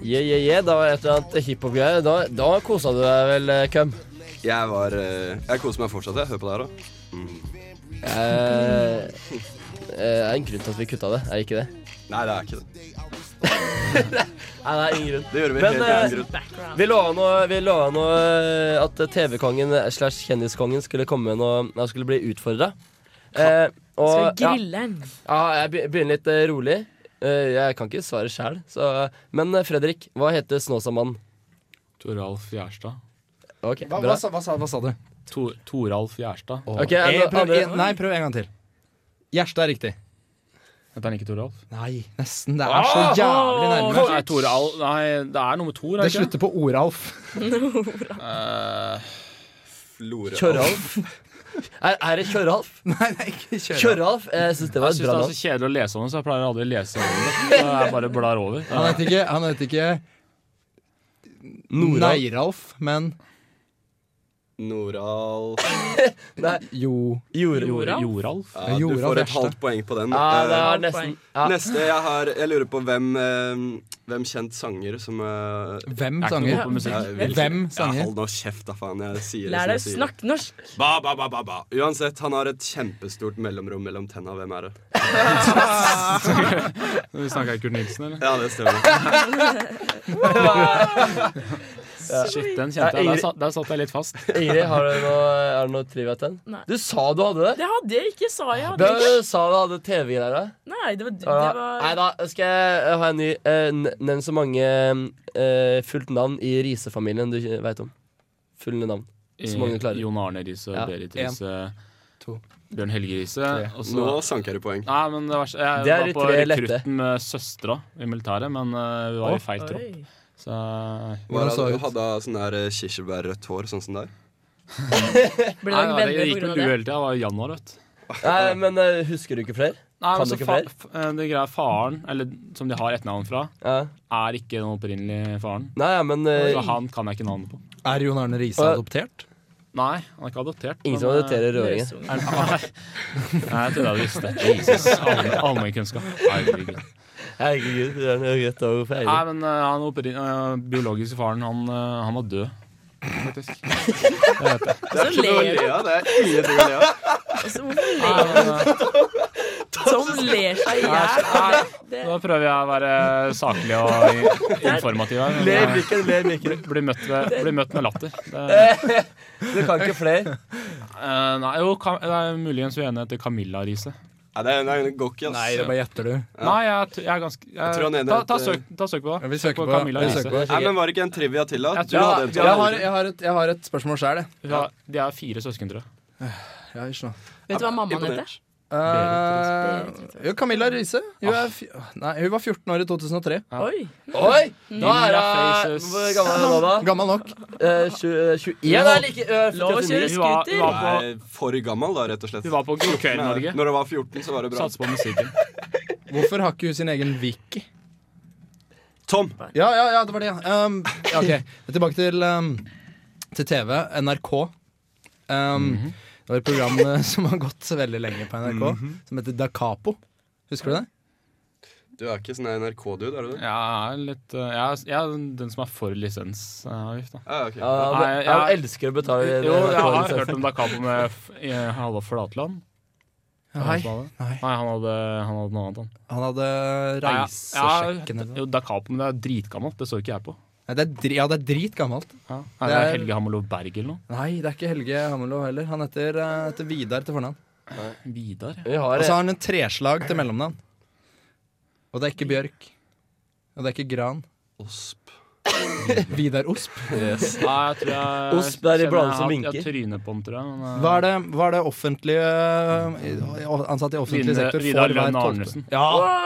S5: Yeah, yeah, yeah. Da var det et eller annet hiphop-greie. Da, da kosa du deg vel, eh, Køm?
S4: Jeg var eh, Jeg koser meg fortsatt, jeg. Hør på det her, da.
S5: Eh, eh, Det er en grunn til at vi kutta det, er det ikke det?
S4: Nei, det er ikke det.
S5: Nei, det er ingen grunn.
S4: Det gjorde vi
S5: Men,
S4: helt
S5: eh,
S4: uten grunn.
S5: Vi lova nå, vi lova nå eh, at TV-kongen slash kjendiskongen skulle komme med noe Han skulle bli utfordra. Eh,
S7: Skal
S5: og-
S7: vi grille den?
S5: Ja, ja, jeg be- begynner litt eh, rolig. Eh, jeg kan ikke svare sjæl, så Men eh, Fredrik, hva heter Snåsamannen?
S8: Toralf Gjerstad.
S5: Ok,
S6: Hva,
S5: bra.
S6: hva, sa- hva, sa- hva sa du?
S8: Tor, Toralf Gjerstad.
S5: Ok, er det
S6: Eh, prøv,
S5: andre-
S6: en, nei, prøv en gang til. Gjerstad er riktig.
S8: Heter han ikke Toralf?
S6: Nei, Ah! nesten. Det er så jævlig nærme.
S8: Ah! Nei, Toral, nei, det er nummer Tor, er
S6: Det
S8: det ikke?
S6: slutter på Oralf.
S8: Eh,
S5: Kjøralf? er, er det Kjøralf?
S6: Nei, det er ikke Kjøralf.
S5: Kjøralf? Eh, Jeg syns det var
S8: Jeg
S5: et
S8: syns det
S5: bra
S8: er
S5: navn.
S8: så kjedelig å lese om det, så jeg pleier aldri å lese om det. Så jeg bare blar over.
S6: Han heter ikke, han heter ikke
S5: Noralf.
S6: Neiralf, men
S4: Noralf
S5: Nei,
S6: jo
S5: Jor-
S7: Joralf?
S8: Joralf?
S4: ja, Du
S6: Joralf
S4: får et
S6: Gjerstad.
S4: halvt poeng på den.
S5: Ja, det
S4: Eh,
S5: er nesten ja.
S4: Neste jeg har Jeg lurer på hvem eh, Hvem kjent sanger som eh,
S6: Hvem
S8: Er ikke noe god
S6: sanger?
S8: på musikk.
S4: jeg vil ikke-
S6: Hvem sanger?
S4: Ja, hold nå kjeft, da, faen. Jeg sier det
S7: Lær
S4: som jeg
S7: deg å
S4: sier.
S7: snakke norsk.
S4: Ba, ba, ba, ba, ba. Uansett, han har et kjempestort mellomrom mellom tenna. Hvem er det?
S8: Vi snakka Kurt Nilsen, eller?
S4: Ja, det stemmer.
S8: Shit, den
S5: Ja,
S8: kjente jeg.
S5: Ingrid-
S8: Der satt, der satt jeg litt fast.
S5: Ingrid, har du noe, er det noe trivia til den?
S7: Nei.
S5: Du sa du hadde det!
S7: Det hadde jeg ikke, sa jeg. Hadde
S5: Hvem
S7: jeg. ikke.
S5: sa du hadde TV-greier? da?
S7: Nei, det var, det
S5: Ja,
S7: var
S5: Nei da, skal jeg ha en ny. Eh, n- Nevn så mange eh, fullt navn i Riise-familien du veit om. Fulle navn. Så mange klarer.
S8: Jon Arne Riise,
S5: Ja,
S8: Berit
S6: en,
S8: Riise,
S6: to,
S8: Bjørn Helge Riise. og så-
S4: Nå sank jeg i poeng.
S8: Nei, men det verste Jeg
S5: Det er
S8: var
S5: de
S8: på
S5: tre lette.
S8: rekrutten med søstera i militæret, men eh, vi var i feil tropp.
S7: Oi.
S8: Så eh,
S4: Hvordan
S6: Hvordan så
S4: så
S6: ut?
S4: Hadde hun sånn der eh, kirsebærrødt hår, sånn som deg?
S8: Nei,
S7: Ble dere
S8: nei, det
S7: venner
S8: gikk med
S7: på
S8: lue
S7: grunn av det?
S8: hele tida. Det var i januar, vet du.
S5: Nei, men eh, husker du ikke flere?
S8: Nei,
S5: Kan
S8: men
S5: du
S8: så
S5: ikke
S8: fa
S5: flere?
S8: f- eh, det greia faren, eller som de har etternavn fra,
S5: Ja.
S8: er ikke den opprinnelige faren.
S5: Nei, ja, men eh,
S8: Så han kan jeg ikke navnet på.
S6: Er Jon Arne Riise
S5: Og-
S6: adoptert?
S8: Nei, han er ikke adoptert.
S5: ingen
S8: men,
S5: som
S8: eh,
S5: adopterer rødingen.
S7: Løsungen.
S8: er det- Nei, Nei, jeg trodde jeg visste. Jesus, allmenn- Allmennkunnskap. Herregud.
S5: Herregud, det er noe greit over for
S8: Nei,
S5: Eirik.
S8: men eh, han opprin- eh, biologiske faren, han, eh, han var død, faktisk.
S7: Så Altså, ler
S4: Ja, det er ingenting å le av.
S7: altså, Hvorfor ler
S8: Men, eh,
S7: Tom ler seg i hjel?
S8: Nei,
S7: Det-
S8: Nå prøver jeg å være saklig og i- informativ. her.
S5: Le i blikken, le i blikken.
S8: Bli møtt, med, bli møtt med latter. Det,
S5: Du kan ikke flere.
S8: eh, nei, jo, Ka- det er muligens hun ene heter Camilla Riise.
S4: Nei, det, er- nei, det går ikke, ass.
S6: Nei, det bare gjetter du.
S8: Nei, jeg, t- jeg er ganske jeg,
S4: tror han ene
S8: ta, ta,
S4: heter-
S8: søk, ta søk på
S6: Ja,
S8: det.
S6: vi søker
S8: på
S6: på-
S8: Camilla
S6: vi
S8: Riise.
S6: søker på det.
S4: Nei, men var det ikke en trivia til, da?
S8: Jeg
S4: Du
S8: tror-
S4: hadde en
S8: Ja,
S6: Jeg har,
S4: trivia.
S6: jeg har, et, jeg har et spørsmål sjøl, jeg.
S8: Hun har- De er fire søsken, tror jeg.
S6: Ja, ikke sant.
S7: Vet du hva mammaen
S4: Imponert.
S7: heter?
S6: Eh, jo, Camilla Riise. Hun, er fj- nei, hun var 14 år i 2003.
S7: Oi.
S5: Oi!
S6: Mm.
S5: Da er hun
S8: Jesus.
S5: Hvor gammel er hun nå, da?
S6: Gammel nok.
S5: Eh, tju- eh, 21 er like eh,
S7: Lov å
S5: 49.
S7: kjøre
S8: Hun var, hun
S7: scooter.
S8: var på,
S4: Nei, for gammel, da, rett og slett.
S8: hun var på God kveld,
S4: Nei,
S8: Norge.
S4: Når du var 14, så var det bra.
S8: Satser på musikken.
S6: Hvorfor har ikke hun sin egen wiki?
S4: Tom.
S6: Ja, ja, ja, det var det, ja. Um, ja ok. Tilbake til, um, til TV. NRK. Um, Det var et program eh, som har gått veldig lenge på NRK,
S4: Mhm.
S6: som heter Da Capo. Husker du det?
S4: Du er ikke sånn NRK-dude, er du det?
S8: Ja, jeg er litt, eh, jeg, er- jeg er den som er for lisensavgift, da.
S4: Ah, ok.
S5: Ja, han-
S8: Nei,
S5: han
S8: jeg-
S5: elsker å betale
S8: Jo, jeg har
S5: NRK-lisensen.
S8: hørt om Dakapo med F- i Halvor Flatland.
S6: Nei,
S8: nei. han, hadde, han hadde noe annet, han.
S6: Han hadde
S8: Ja,
S6: Reisesjekken
S8: ja,
S6: eller noe.
S8: jo, Dakapo, men det er dritgammelt. Det så ikke jeg på.
S6: Nei, det er dri, ja, det er dritgammelt.
S8: Nei, det er Helge Hammerlov Berg eller noe.
S6: Nei, det er ikke Helge Hammerlov heller. Han heter, eh, heter Vidar til fornavn.
S8: Vidar?
S6: Og
S5: eh,
S6: så har han en treslag til mellomnavn. Og det er ikke Bjørk. Og det er ikke Gran.
S4: Osp.
S6: Vidar Osp?
S8: Yes. Nei, jeg tror jeg
S5: Osp er i
S8: kjenner jeg
S5: bladet som
S8: har-
S5: vinker.
S8: Jeg trynet på den, tror jeg. Men, eh,
S6: Hva er det, hva er det offentlige eh, Ansatte i offentlig
S8: Vidar-
S6: sektor
S8: Vidar
S6: får
S8: Lønn
S6: hver tolvte?
S8: Arnesen.
S6: Ja.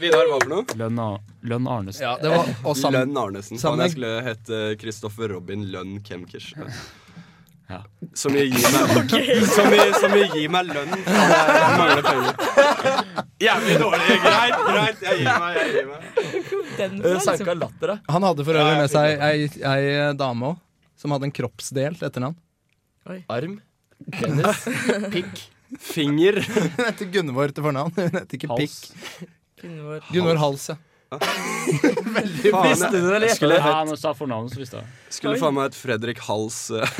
S4: Vidar, hva for noe?
S8: eh, Lønn, A- Lønn Arnesen.
S6: Ja, det var- og sam-
S4: Lønn Arnesen.
S6: sam-
S4: Han jeg skulle hete Kristoffer Robin Lønn Kemkish.
S8: Ja.
S4: Som jeg gir meg som, jeg, som jeg gir meg lønn. for Jeg mangler penger. Jævlig dårlig. Greit, greit. Jeg gir meg. Jeg gir meg.
S5: Eh,
S7: Altså- liksom
S5: Sanka latter, da.
S6: Han hadde for øvrig med seg ei, ei dame òg, som hadde en kroppsdelt etternavn.
S5: Arm, penis, pikk.
S4: Finger.
S6: Hun heter Gunvor til fornavn. Hun heter ikke
S8: Hals.
S7: Gunvor.
S6: Gunvor Hals, ja. Veldig
S4: Faen,
S6: visste du det, eller?
S4: jeg skulle
S8: Ja,
S4: hett-
S8: når du sa fornavnet, så visste jeg det.
S4: Skulle faen meg hett Fredrik Hals. eh.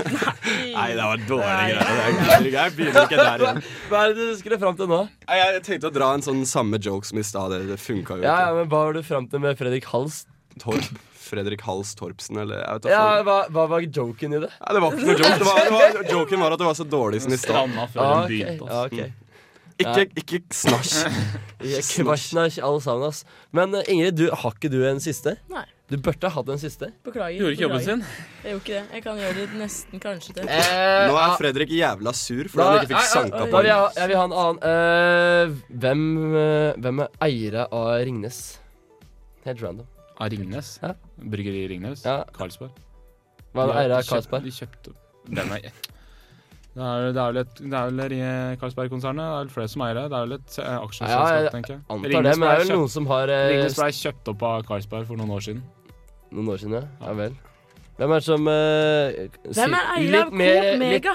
S4: Nei, det var dårlig greier. Jeg, jeg begynner ikke der igjen.
S5: Hva er det du skulle fram til nå?
S4: Nei, Jeg tenkte å dra en sånn samme joke som i stad. Det, det funka
S5: Ja,
S4: jo ikke.
S5: ja, men Hva var du fram til med Fredrik Hals?
S4: Torp. Fredrik Hals Torpsen, eller jeg vet da
S5: Ja,
S4: faen.
S5: hva, hva var joken i det?
S4: Nei, det var ikke noe joke. Det var, det var, joken var at det var så dårlig som i stad.
S8: Stranda før
S5: Ja,
S8: den begynte.
S5: Ah, ok. Ja,
S8: altså.
S5: ok.
S4: Ikke, ikke snasj.
S5: Ikke Kvasjnasj, alle sammen, ass. Men eh, Ingrid, du, har ikke du en siste?
S7: Nei.
S5: Du burde ha hatt en siste.
S7: Beklager.
S5: Gjorde ikke jobben
S7: beklager.
S5: sin.
S7: Jeg gjorde ikke det. Jeg kan gjøre det nesten kanskje til.
S5: Eh,
S4: Nå er Fredrik jævla sur fordi han ikke
S5: nei,
S4: fikk sanka
S5: nei,
S4: på
S5: da vil jeg, ha- jeg vil ha en annen. Eh, hvem, eh, hvem er eiere av Ringnes? Helt random.
S8: Av Ah, Ringnes?
S5: Ja.
S8: Bryggeri Ringnes? Karlsberg?
S5: Hva er det
S8: De-
S5: eiere
S8: de
S5: av
S8: kjøp-
S5: Karlsberg?
S8: De kjøpte Den er det er, det er vel et det er vel Ri- Karlsberg-konsernet. Det er vel flere som eier det. Det er vel et eh, aksjeselskap,
S5: Ja, jeg
S8: tenker jeg.
S5: antar det,
S8: Ringnes ble
S5: men det er vel
S8: kjøpt-
S5: noen som har, eh,
S8: Ringnes ble kjøpt opp av Karlsberg for noen år siden.
S5: Noen år siden, ja. Ja vel. Hvem er det som eh,
S7: Hvem er
S5: sier-
S7: eier av
S5: litt mer-
S7: Coop
S5: litt-
S7: Mega?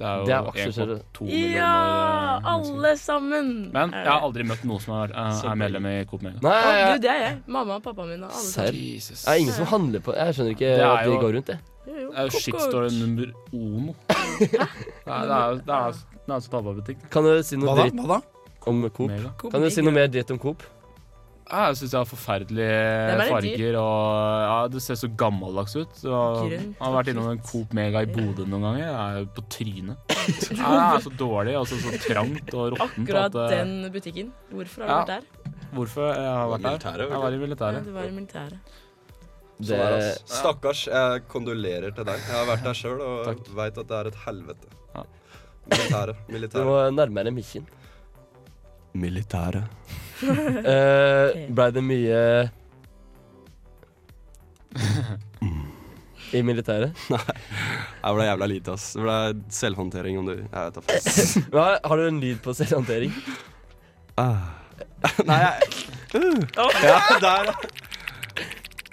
S8: Det er jo
S5: Det er aksjeselskap.
S8: 1,2 millioner. eh,
S7: Ja, alle sammen.
S8: Men jeg har aldri møtt noen som er, eh, er medlem i Coop Mega.
S5: Nei,
S7: Å,
S5: jeg-
S7: Gud, det er jeg. Mamma og pappaen min og alle
S5: Serr?
S7: sammen.
S5: Det er ingen som handler på Jeg skjønner ikke
S8: Det er
S5: at de
S8: jo-
S5: går rundt, jeg.
S7: Jo, jo.
S8: Det er jo
S7: Coco.
S8: shitstorm nummer ono. Det er- det er jo- det er det er en tabbabutikk.
S5: Kan du si noe
S8: Hva da?
S5: dritt
S6: Hva da?
S5: om Coop?
S8: Mega.
S5: Kan du si noe mer dritt om Coop?
S8: Ja, jeg syns jeg har forferdelige
S5: Den er litt
S8: farger, og ja, det ser så gammeldags ut. Så
S5: Grønt
S8: jeg har vært innom en Coop Mega i Bodø noen ganger. Jeg er jo på trynet. Ja, det er så dårlig og så, så trangt og råttent.
S7: Akkurat
S8: at, eh,
S7: den butikken. Hvorfor har du
S8: Ja.
S7: vært der?
S8: Hvorfor? Jeg har vært der. Jeg var i
S7: Ja,
S8: militæret.
S7: du var i militæret.
S4: Sånn er det, ass. Stakkars, jeg kondolerer til deg. Jeg har vært der sjøl og veit at det er et helvete. Militæret.
S5: Du
S4: Militæret.
S5: må nærmere mikken.
S4: Militæret.
S5: Uh, Blei det mye I militæret?
S4: Nei. Jeg ble jævla lite, ass. Det ble selvhåndtering om du Jeg vet da faen.
S5: Hva, har du en lyd på selvhåndtering?
S4: Nei, jeg uh. Ja, der,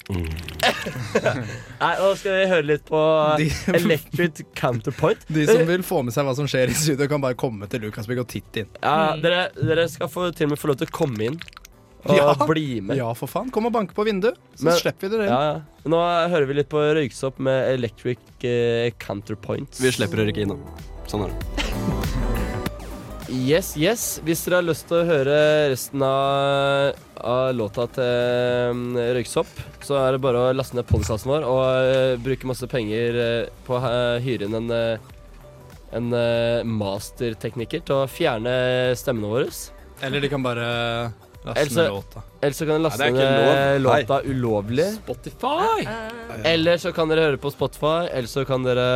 S5: Nei, nå skal vi høre litt på eh, Electric Counterpoint.
S6: De som vil få med seg hva som skjer i studio, kan bare komme til Lukasbygg og titte inn.
S5: Ja, dere, dere skal få, til og med få lov til å komme inn og
S6: Ja.
S5: bli med.
S6: Ja, for faen. Kom og banke på vinduet, så
S5: Men-
S6: slipper vi dere inn.
S5: Ja, ja. Nå hører vi litt på Røyksopp med Electric eh, Counterpoints.
S4: Vi slipper dere ikke inn, da. Sånn er det.
S5: Yes, yes. Hvis dere har lyst til å høre resten av, av låta til um, Røyksopp, så er det bare å laste ned podkasten vår og eh, bruke masse penger eh, på å ha- hyre inn en, eh, en eh, mastertekniker til å fjerne stemmene våre.
S6: Eller de kan bare laste
S5: Eller
S6: ned
S5: så-
S6: låta.
S5: eller så kan dere laste
S6: Nei, det er
S5: ned
S6: ikke lov.
S5: låta ulovlig.
S8: Spotify!
S7: Eh,
S5: Eller så kan dere høre på Spotify, eller så kan dere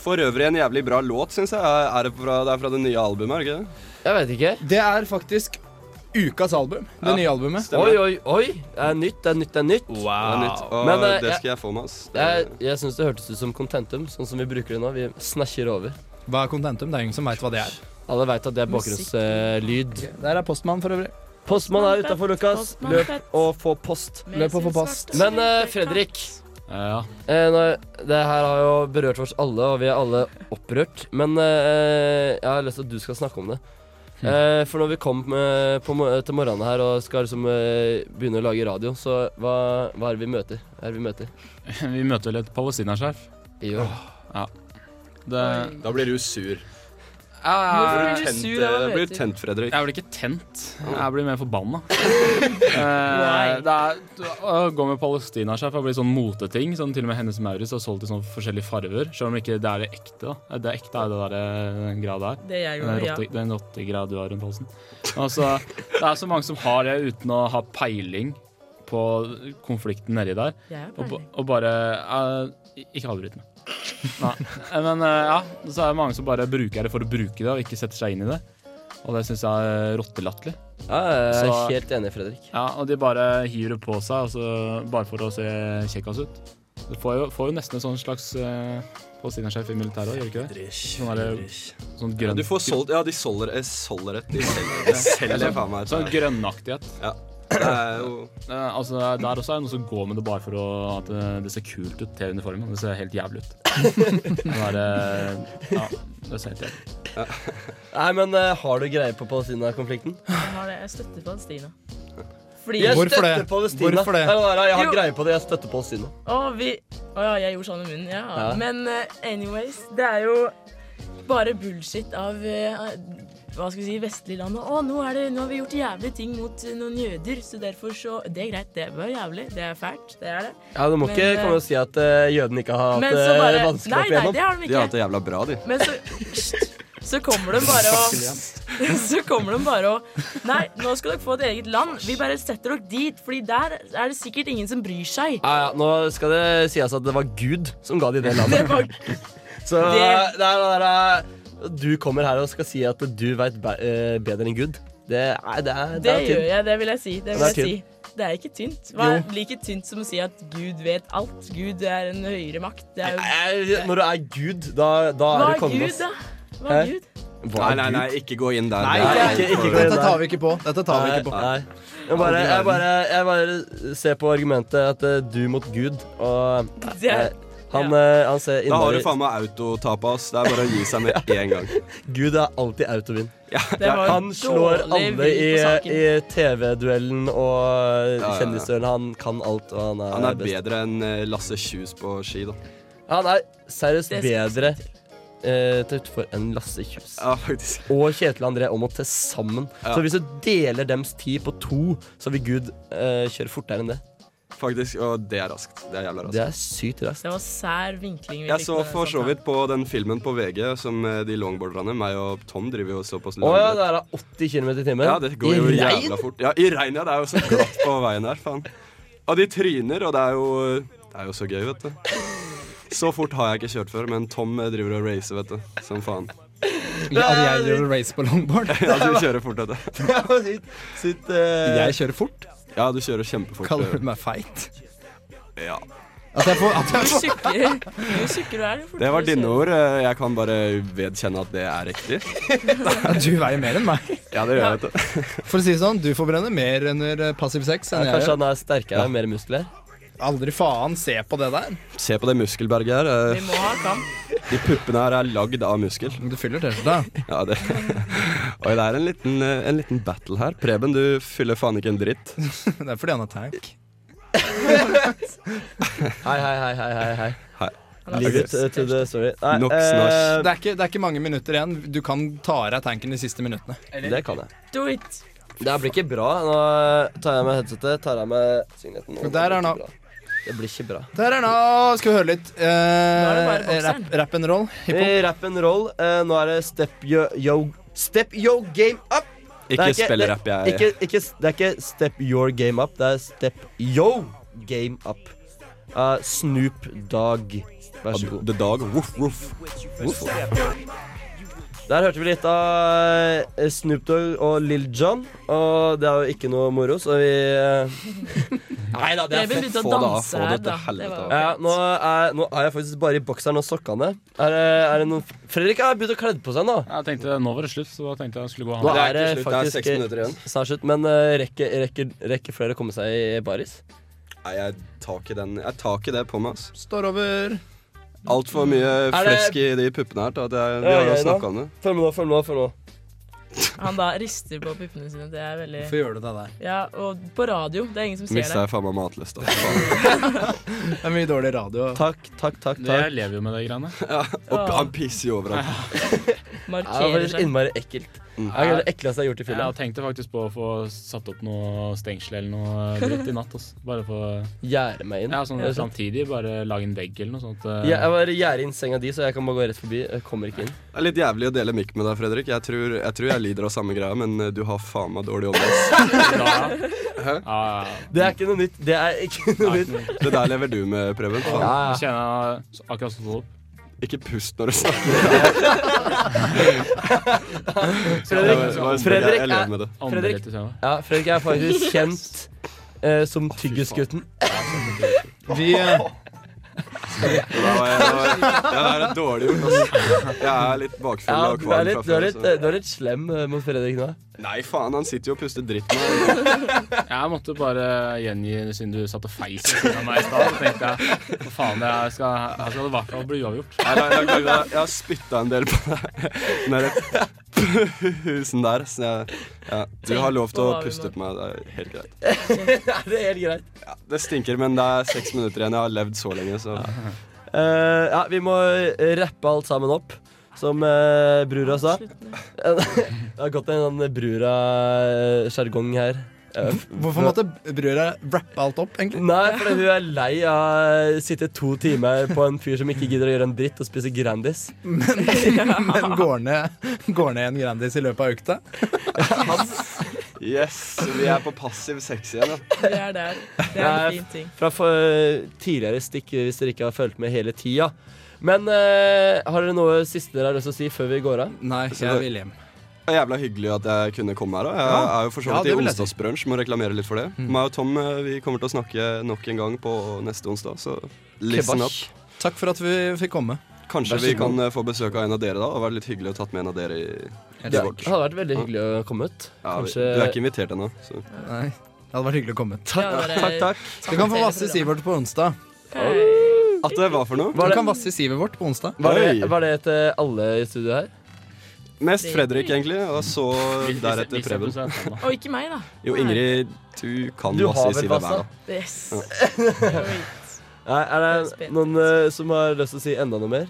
S4: For øvrig en jævlig bra låt, syns jeg. Er det, fra, det er fra det nye albumet, er det ikke det?
S5: Jeg vet ikke.
S6: Det er faktisk ukas album. Det
S4: Ja,
S6: nye albumet.
S5: Oi, oi, oi! Det er nytt, det er nytt, det er nytt.
S6: Oh.
S4: Det er nytt. Og
S5: Men, eh,
S4: det
S5: jeg-
S4: skal jeg få med, ass.
S5: Jeg, jeg syns det hørtes ut som contentum, sånn som vi bruker det nå. Vi snasjer over.
S6: Hva er Contentum? Det er ingen som veit hva det er.
S5: Alle veit at det er
S6: Musikk.
S5: bakgrunnslyd.
S6: Der er postmannen, for øvrig.
S5: Postmann er utafor, Lukas.
S8: Postmann
S5: Løp
S8: fett.
S5: og få post.
S6: Løp og få post.
S5: Men eh, Fredrik eh, nå- Det her har jo berørt oss alle, og vi er alle opprørt. Men eh, jeg har lyst til at du skal snakke om det. Eh, for når vi kom eh, på, mo- til morgenen her og skal liksom eh, begynne å lage radio, så hva, hva er det vi møter? Hva er det vi møter?
S8: Vi møter vel et palestinaskjerf.
S5: Jo.
S8: Ja. Det...
S4: Da blir du sur.
S8: Hvorfor
S4: blir du Tent, sur av eh, å blir møte? tent, Fredrik.
S8: Jeg blir ikke tent. Jeg blir mer forbanna. Eh, det er, å gå med palestinasjef har blitt sånn moteting. Sånn, til og med Hennes Maurits har solgt i sånn forskjellige farver. Selv om ikke det er det ekte. da Det ekte er det der, eh, den greia der.
S7: Det jeg
S8: den
S7: gjorde, ja.
S8: rotte, Den rottegreia du har rundt halsen. Altså, det er så mange som har det uten å ha peiling på konflikten nedi der.
S7: Jeg har
S8: Og, ba- og bare eh, Ikke avbryt meg. Nei. Eh, Men eh, ja, så er det mange som bare bruker det for å bruke det, og ikke setter seg inn i det. Og det syns jeg er rottelatterlig.
S5: Ah, Ja, jeg er
S8: Så-
S5: helt enig, Fredrik.
S8: Ja, og de bare hiver det på seg, altså, bare for å se kjekkas ut. Du får jo, får jo nesten en sånn slags eh, palestinasjef i militæret òg, gjør du ikke det? Sånn, der, sånn
S4: Ja,
S8: grønn
S4: du får solgt Ja, de solger eh, solger et. De selger, de selger faen meg et.
S8: Sånn grønnaktighet.
S4: Ja. Det er jo
S8: Eh, altså, der også er det noen som går med det bare for å, at eh, det- det ser kult ut til uniformen. Det ser helt jævlig ut. Det er, eh, ja, det ser helt jævlig ut.
S5: Nei, men eh, har du greie på Palestina-konflikten?
S7: Jeg har det. Jeg støtter Palestina. Fordi-
S5: Jeg støtter Palestina. Nei, nei, nei, Jeg har
S7: Jo.
S5: greie på det. Jeg støtter Palestina.
S7: Å, vi Å ja, jeg gjorde sånn med munnen, ja.
S5: Ja.
S7: Men eh, anyways, det er jo bare bullshit av eh, hva skal vi si, vestlige land. Å, nå, er det, nå har vi gjort jævlige ting mot eh, noen jøder, så derfor så Det er greit, det var jævlig. Det er fælt. Det er det.
S5: Ja, Du må
S7: Men,
S5: ikke komme
S7: eh,
S5: og si at eh, jødene ikke har hatt
S7: men
S5: det
S7: så bare-
S5: vanskelig
S7: Nei,
S5: opp
S7: nei,
S5: igjennom.
S7: det har de ikke. De har hatt det
S5: jævla bra, de.
S7: Men så Så kommer de bare og Så kommer de bare og Nei, nå skal dere få et eget land. Vi bare setter dere dit, Fordi der er det sikkert ingen som bryr seg.
S5: Ja, ja, nå skal det sies at det var Gud som ga de det landet.
S7: Det var-
S5: Så det
S7: Det-
S5: er det der, eh, Du kommer her og skal si at du veit bedre enn Gud. Det er, det er,
S7: Det
S5: er
S7: gjør
S5: tynt.
S7: jeg, det vil jeg si. Det,
S5: Det
S7: vil
S5: er
S7: jeg si. det er ikke tynt. Hva er like tynt som å si at Gud vet alt? Gud er en høyere makt. Det er jo
S5: Eh, Når du er Gud, da, da er
S7: Hva er
S5: du kongen. altså. ass.
S7: Gud, da? Hva er
S5: Hæ?
S7: Gud?
S4: Nei, nei, nei, ikke gå inn der.
S5: Nei,
S4: Det er
S5: ikke, ikke,
S4: for-
S5: gå inn
S6: Dette
S5: der.
S6: tar vi ikke på. Dette tar vi ikke på.
S5: Nei, nei. Jeg bare, jeg, bare, jeg bare ser på argumentet at eh, du mot Gud, og
S4: Det er-
S5: eh, han, eh, han ser
S4: Da har du
S5: innmari
S4: faen meg autotap, ass. Det er bare å gi seg med en gang.
S5: Gud er alltid autovinn.
S4: Det var jo
S5: han slår
S4: dårlig
S5: alle
S4: vri
S5: i,
S4: på saken.
S5: i TV-duellen og
S4: ja, ja.
S5: kjendisduellen. Han kan alt, og han er,
S4: Han er
S5: best.
S4: bedre enn eh, Lasse Kjus på ski, da.
S5: Han er seriøst
S4: Det skal jeg
S5: bedre eh, til utfor enn Lasse Kjus. og Kjetil André Aamodt til sammen.
S4: Ja.
S5: Så hvis du deler dems tid på to, så vil Gud eh, kjøre fortere enn det.
S4: Faktisk. Og det er raskt. Det er jævla raskt.
S5: Det er sykt raskt.
S7: Det var sær vinkling vi
S4: Jeg
S7: fikk
S4: så
S7: på den
S4: for så
S7: samtalen.
S4: vidt på den filmen på VG som eh, de longboarderne Meg og Tom driver jo og så på.
S5: Å ja, det er da 80 km i timen.
S4: Ja, det går jo
S5: I regn?
S4: jævla fort. Ja, I regn, ja. Det er jo så glatt på veien her, faen. Og de tryner, og det er jo Det er jo så gøy, vet du. Så fort har jeg ikke kjørt før, men Tom eh, driver og racer, vet du. Som faen.
S6: Ja, at jeg driver og racer på longboard?
S4: Ja, du kjører fort, vet du.
S5: eh,
S6: Jeg kjører fort?
S4: Ja, du kjører kjempefort.
S6: Kaller du meg feit?
S4: Ja.
S6: At jeg får, at
S7: Jo
S6: jeg får.
S7: tjukkere jo tjukkere du er, jo fortere
S4: Det var dine
S7: kjører du.
S4: ord. eh, Jeg kan bare vedkjenne at det er riktig.
S6: Ja, Du veier mer enn meg.
S4: Ja, det gjør jeg, vet du.
S6: For å si det sånn, du forbrenner mer under eh, passiv sex enn
S5: Ja,
S6: jeg
S5: kanskje
S6: gjør.
S5: han er sterkere, mer muskler?
S6: Aldri faen se på det der.
S4: Se på det muskelberget her. eh,
S7: Vi må ha kamp.
S4: De puppene her er lagd av muskel.
S6: Du fyller T-skjorta.
S4: Ja, det Oi, det er en liten, eh, en liten battle her. Preben, du fyller faen ikke en dritt.
S6: Det er fordi han er tank.
S5: Hei, hei, hei, hei, hei, hei.
S4: Hei.
S5: Leave it uh, to the story. Nei,
S4: Nok
S5: eh,
S4: snasj.
S6: det, er ikke, det er ikke mange minutter igjen. Du kan ta av deg tanken de siste minuttene.
S5: eh, Det kan jeg.
S7: Do it.
S5: Det her blir ikke bra. Nå tar jeg med headsetet, tar jeg med signeten. og det
S6: Der er
S5: blir
S6: nå.
S5: ikke bra. Det blir ikke bra.
S6: Der er nå. Skal vi høre litt
S5: er det
S6: eh,
S5: bare
S6: rap, rap and roll? Hiphop?
S5: Eh, Rap and roll. eh, nå er det step yo, yo Step yo game up! Det er
S4: Ikke spill rap, jeg-
S5: Ikke, ikke, det er ikke step your game up, det er step yo game up. Uh, Snoop Dogg. Vær så god.
S4: The Dog. Voff, voff. Voff.
S5: Der hørte vi litt av eh, Snoop Dogg og Lil Jon, og det er jo ikke noe moro, så vi eh, Nei da, det er fett.
S7: Preben begynte å
S5: Få det av,
S7: danse
S5: få det
S7: her,
S5: til
S7: da.
S5: helvete altså.
S7: Det var
S5: av. Ja, nå, er, nå er jeg faktisk bare i bokseren og sokkene. Er, det- er det noen Fredrik har begynt å kle på seg nå.
S8: Jeg tenkte, Nå var det slutt, så da tenkte jeg jeg skulle gå og
S5: Nå
S8: handle.
S5: er det faktisk Snart slutt. Men eh, rekker, rekker, rekker flere å komme seg i baris?
S4: Nei, jeg tar ikke den Jeg tar ikke det på meg, ass.
S6: Står over.
S4: Altfor mye
S5: Er det-
S4: flesk i de puppene her til at jeg Vi har jo snakka om det.
S5: Følg med nå, følg med nå. følg med nå
S7: Han da rister på puppene sine. Det er veldig
S4: Hvorfor gjør du det der?
S7: Ja, og på radio. Det er ingen som ser
S4: Mista jeg
S7: det.
S4: faen meg matlysta.
S6: Det er mye dårlig radio.
S5: Takk, takk, takk.
S8: Det- Jeg lever jo med de greiene.
S4: ja, og han pisser jo overalt.
S8: Markerer
S5: Ja, det var litt
S8: seg.
S5: innmari ekkelt.
S8: Mm.
S5: Det er det ekleste jeg har gjort i fylla.
S8: Jeg tenkte faktisk på å få satt opp noe stengsel eller noe dritt i natt. ass. Bare få
S5: Gjerde meg inn.
S8: Ja, sånn
S5: Rett og slett.
S8: samtidig. Bare lage en vegg eller noe sånt. eh.
S5: Ja, jeg bare gjerder inn senga di, så jeg kan bare gå rett forbi. Jeg kommer ikke inn.
S4: Det er litt jævlig å dele mikk med deg, Fredrik. Jeg tror, jeg tror jeg lider av samme greia, men eh, du har faen meg dårlig ånde. ass. Hæ?
S5: Det er ikke noe nytt. Det er ikke noe nytt.
S4: Det der lever du med, Preben. Faen.
S5: Ja, ja.
S8: Kjenner jeg akkurat som opp.
S4: Ikke pust når du snakker.
S5: Fredrik, Fredrik,
S4: Jeg lever med det.
S5: er, Fredrik, ja, Fredrik er faktisk kjent eh, som Tyggisgutten.
S6: Vi, eh,
S4: Ja, jeg, jeg, det er dårlig gjort, ass. Jeg er litt
S5: Ja,
S4: bakfull og
S5: du er
S4: kvalm altså.
S5: litt, du er litt, eh, du er litt slem eh, mot Fredrik nå.
S4: Nei, faen, han sitter jo og puster dritt nå.
S8: Jeg måtte bare gjengi det siden du satt og feis ved siden av meg i stad. Så tenkte jeg hva faen, jeg skal, her skal det i hvert fall bli uavgjort.
S4: Nei, nei, jeg, jeg, jeg har spytta en del på deg. Den der pusen der. Så jeg, ja. Du har lov til å puste på meg. Det er helt greit.
S5: er det helt greit?
S4: Ja, det stinker, men det er seks minutter igjen. Jeg har levd så lenge, så
S5: Eh, ja, vi må rappe alt sammen opp, som eh, Brura sa. det har gått en sånn Brura-sjargong her. Eh,
S6: Hvorfor måtte brura rappe alt opp, egentlig?
S5: Nei, fordi hun er lei av å sitte to timer på en fyr som ikke gidder å gjøre en dritt og spise Grandis.
S6: Men går ned, går ned en Grandis i løpet av økta?
S4: Yes, vi er på passiv sex igjen, ja.
S7: Vi er der. Det er en fin ting.
S5: Fra for, tidligere stikk, hvis dere ikke har fulgt med hele tida. Men eh, har dere noe siste dere har lyst til å si før vi går av?
S6: Nei,
S4: jeg vil
S6: hjem.
S4: Det er jævla hyggelig at jeg kunne komme her. da. Jeg
S5: Ja.
S4: er jo for så
S5: Ja,
S4: vidt
S5: det
S4: i
S5: vil jeg si. Mm.
S4: onsdagsbrunsj, må reklamere litt for det. Meg og Tom eh, vi kommer til å snakke nok en gang på neste onsdag, så listen up.
S6: Kebasj. Takk for at vi fikk komme.
S4: Kanskje
S6: Vær så
S4: vi
S6: god.
S4: kan eh, få besøk av en av dere da. Det hadde vært litt hyggelig å tatt med en av dere i
S5: Det,
S4: i
S5: det
S4: vårt.
S5: hadde vært veldig hyggelig å komme ut.
S4: Ja, vi-
S5: Kanskje
S4: Du er ikke invitert ennå, så
S6: Nei, det hadde vært hyggelig å komme.
S5: Ja, dere- Takk, takk.
S6: Du kan få vasse i sivet vårt på onsdag.
S4: At det var for noe?
S6: Du kan vasse i sivet vårt på onsdag.
S5: var
S4: Oi.
S5: det, var det til alle i studio her?
S4: Mest Fredrik, egentlig, og så deretter Preben.
S7: Og ikke meg, da.
S4: Jo, Ingrid, du kan
S5: Du
S4: masse
S5: har
S4: i
S5: vel
S4: Siv
S5: vassa?
S4: hver, da.
S7: Yes.
S5: Nei, er det noen eh, som har lyst til å si enda noe mer?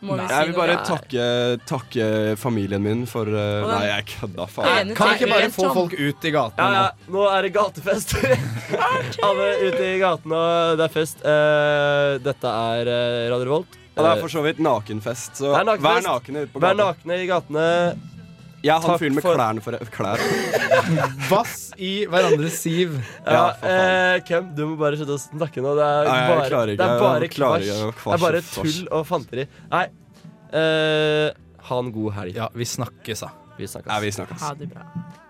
S7: Må vi si
S4: Jeg vil bare
S7: noe?
S4: takke, takke familien min for eh,
S5: Og den
S4: Nei, jeg kødda, faen.
S5: ene Kan vi ikke bare få folk
S6: ut i gatene
S5: Ja, ja, nå er det gatefest. Alle ute i gatene, og det er fest. Eh, dette er eh, Radio Revolt.
S4: Ja, det er for så vidt nakenfest, så
S5: Det er nakenfest.
S4: vær nakne ute på
S5: Vær
S4: gata.
S5: nakne i gatene.
S4: Jeg er han
S5: Takk
S4: fyren med
S5: for-
S4: klærne for klær.
S6: Vass i hverandres siv.
S5: Ja, eh, Kem, du må bare slutte å snakke nå. Det er
S4: Nei, jeg
S5: bare,
S4: klarer ikke.
S5: det er bare
S4: Jeg klarer
S5: kvasj.
S4: ikke.
S5: Det er bare
S4: Kvasj, kvasj.
S5: tull og fanteri. Nei, eh, ha en god helg.
S6: Ja, vi snakkes, da.
S5: Vi snakkes.
S4: Ja, vi snakkes.
S7: Ha det bra.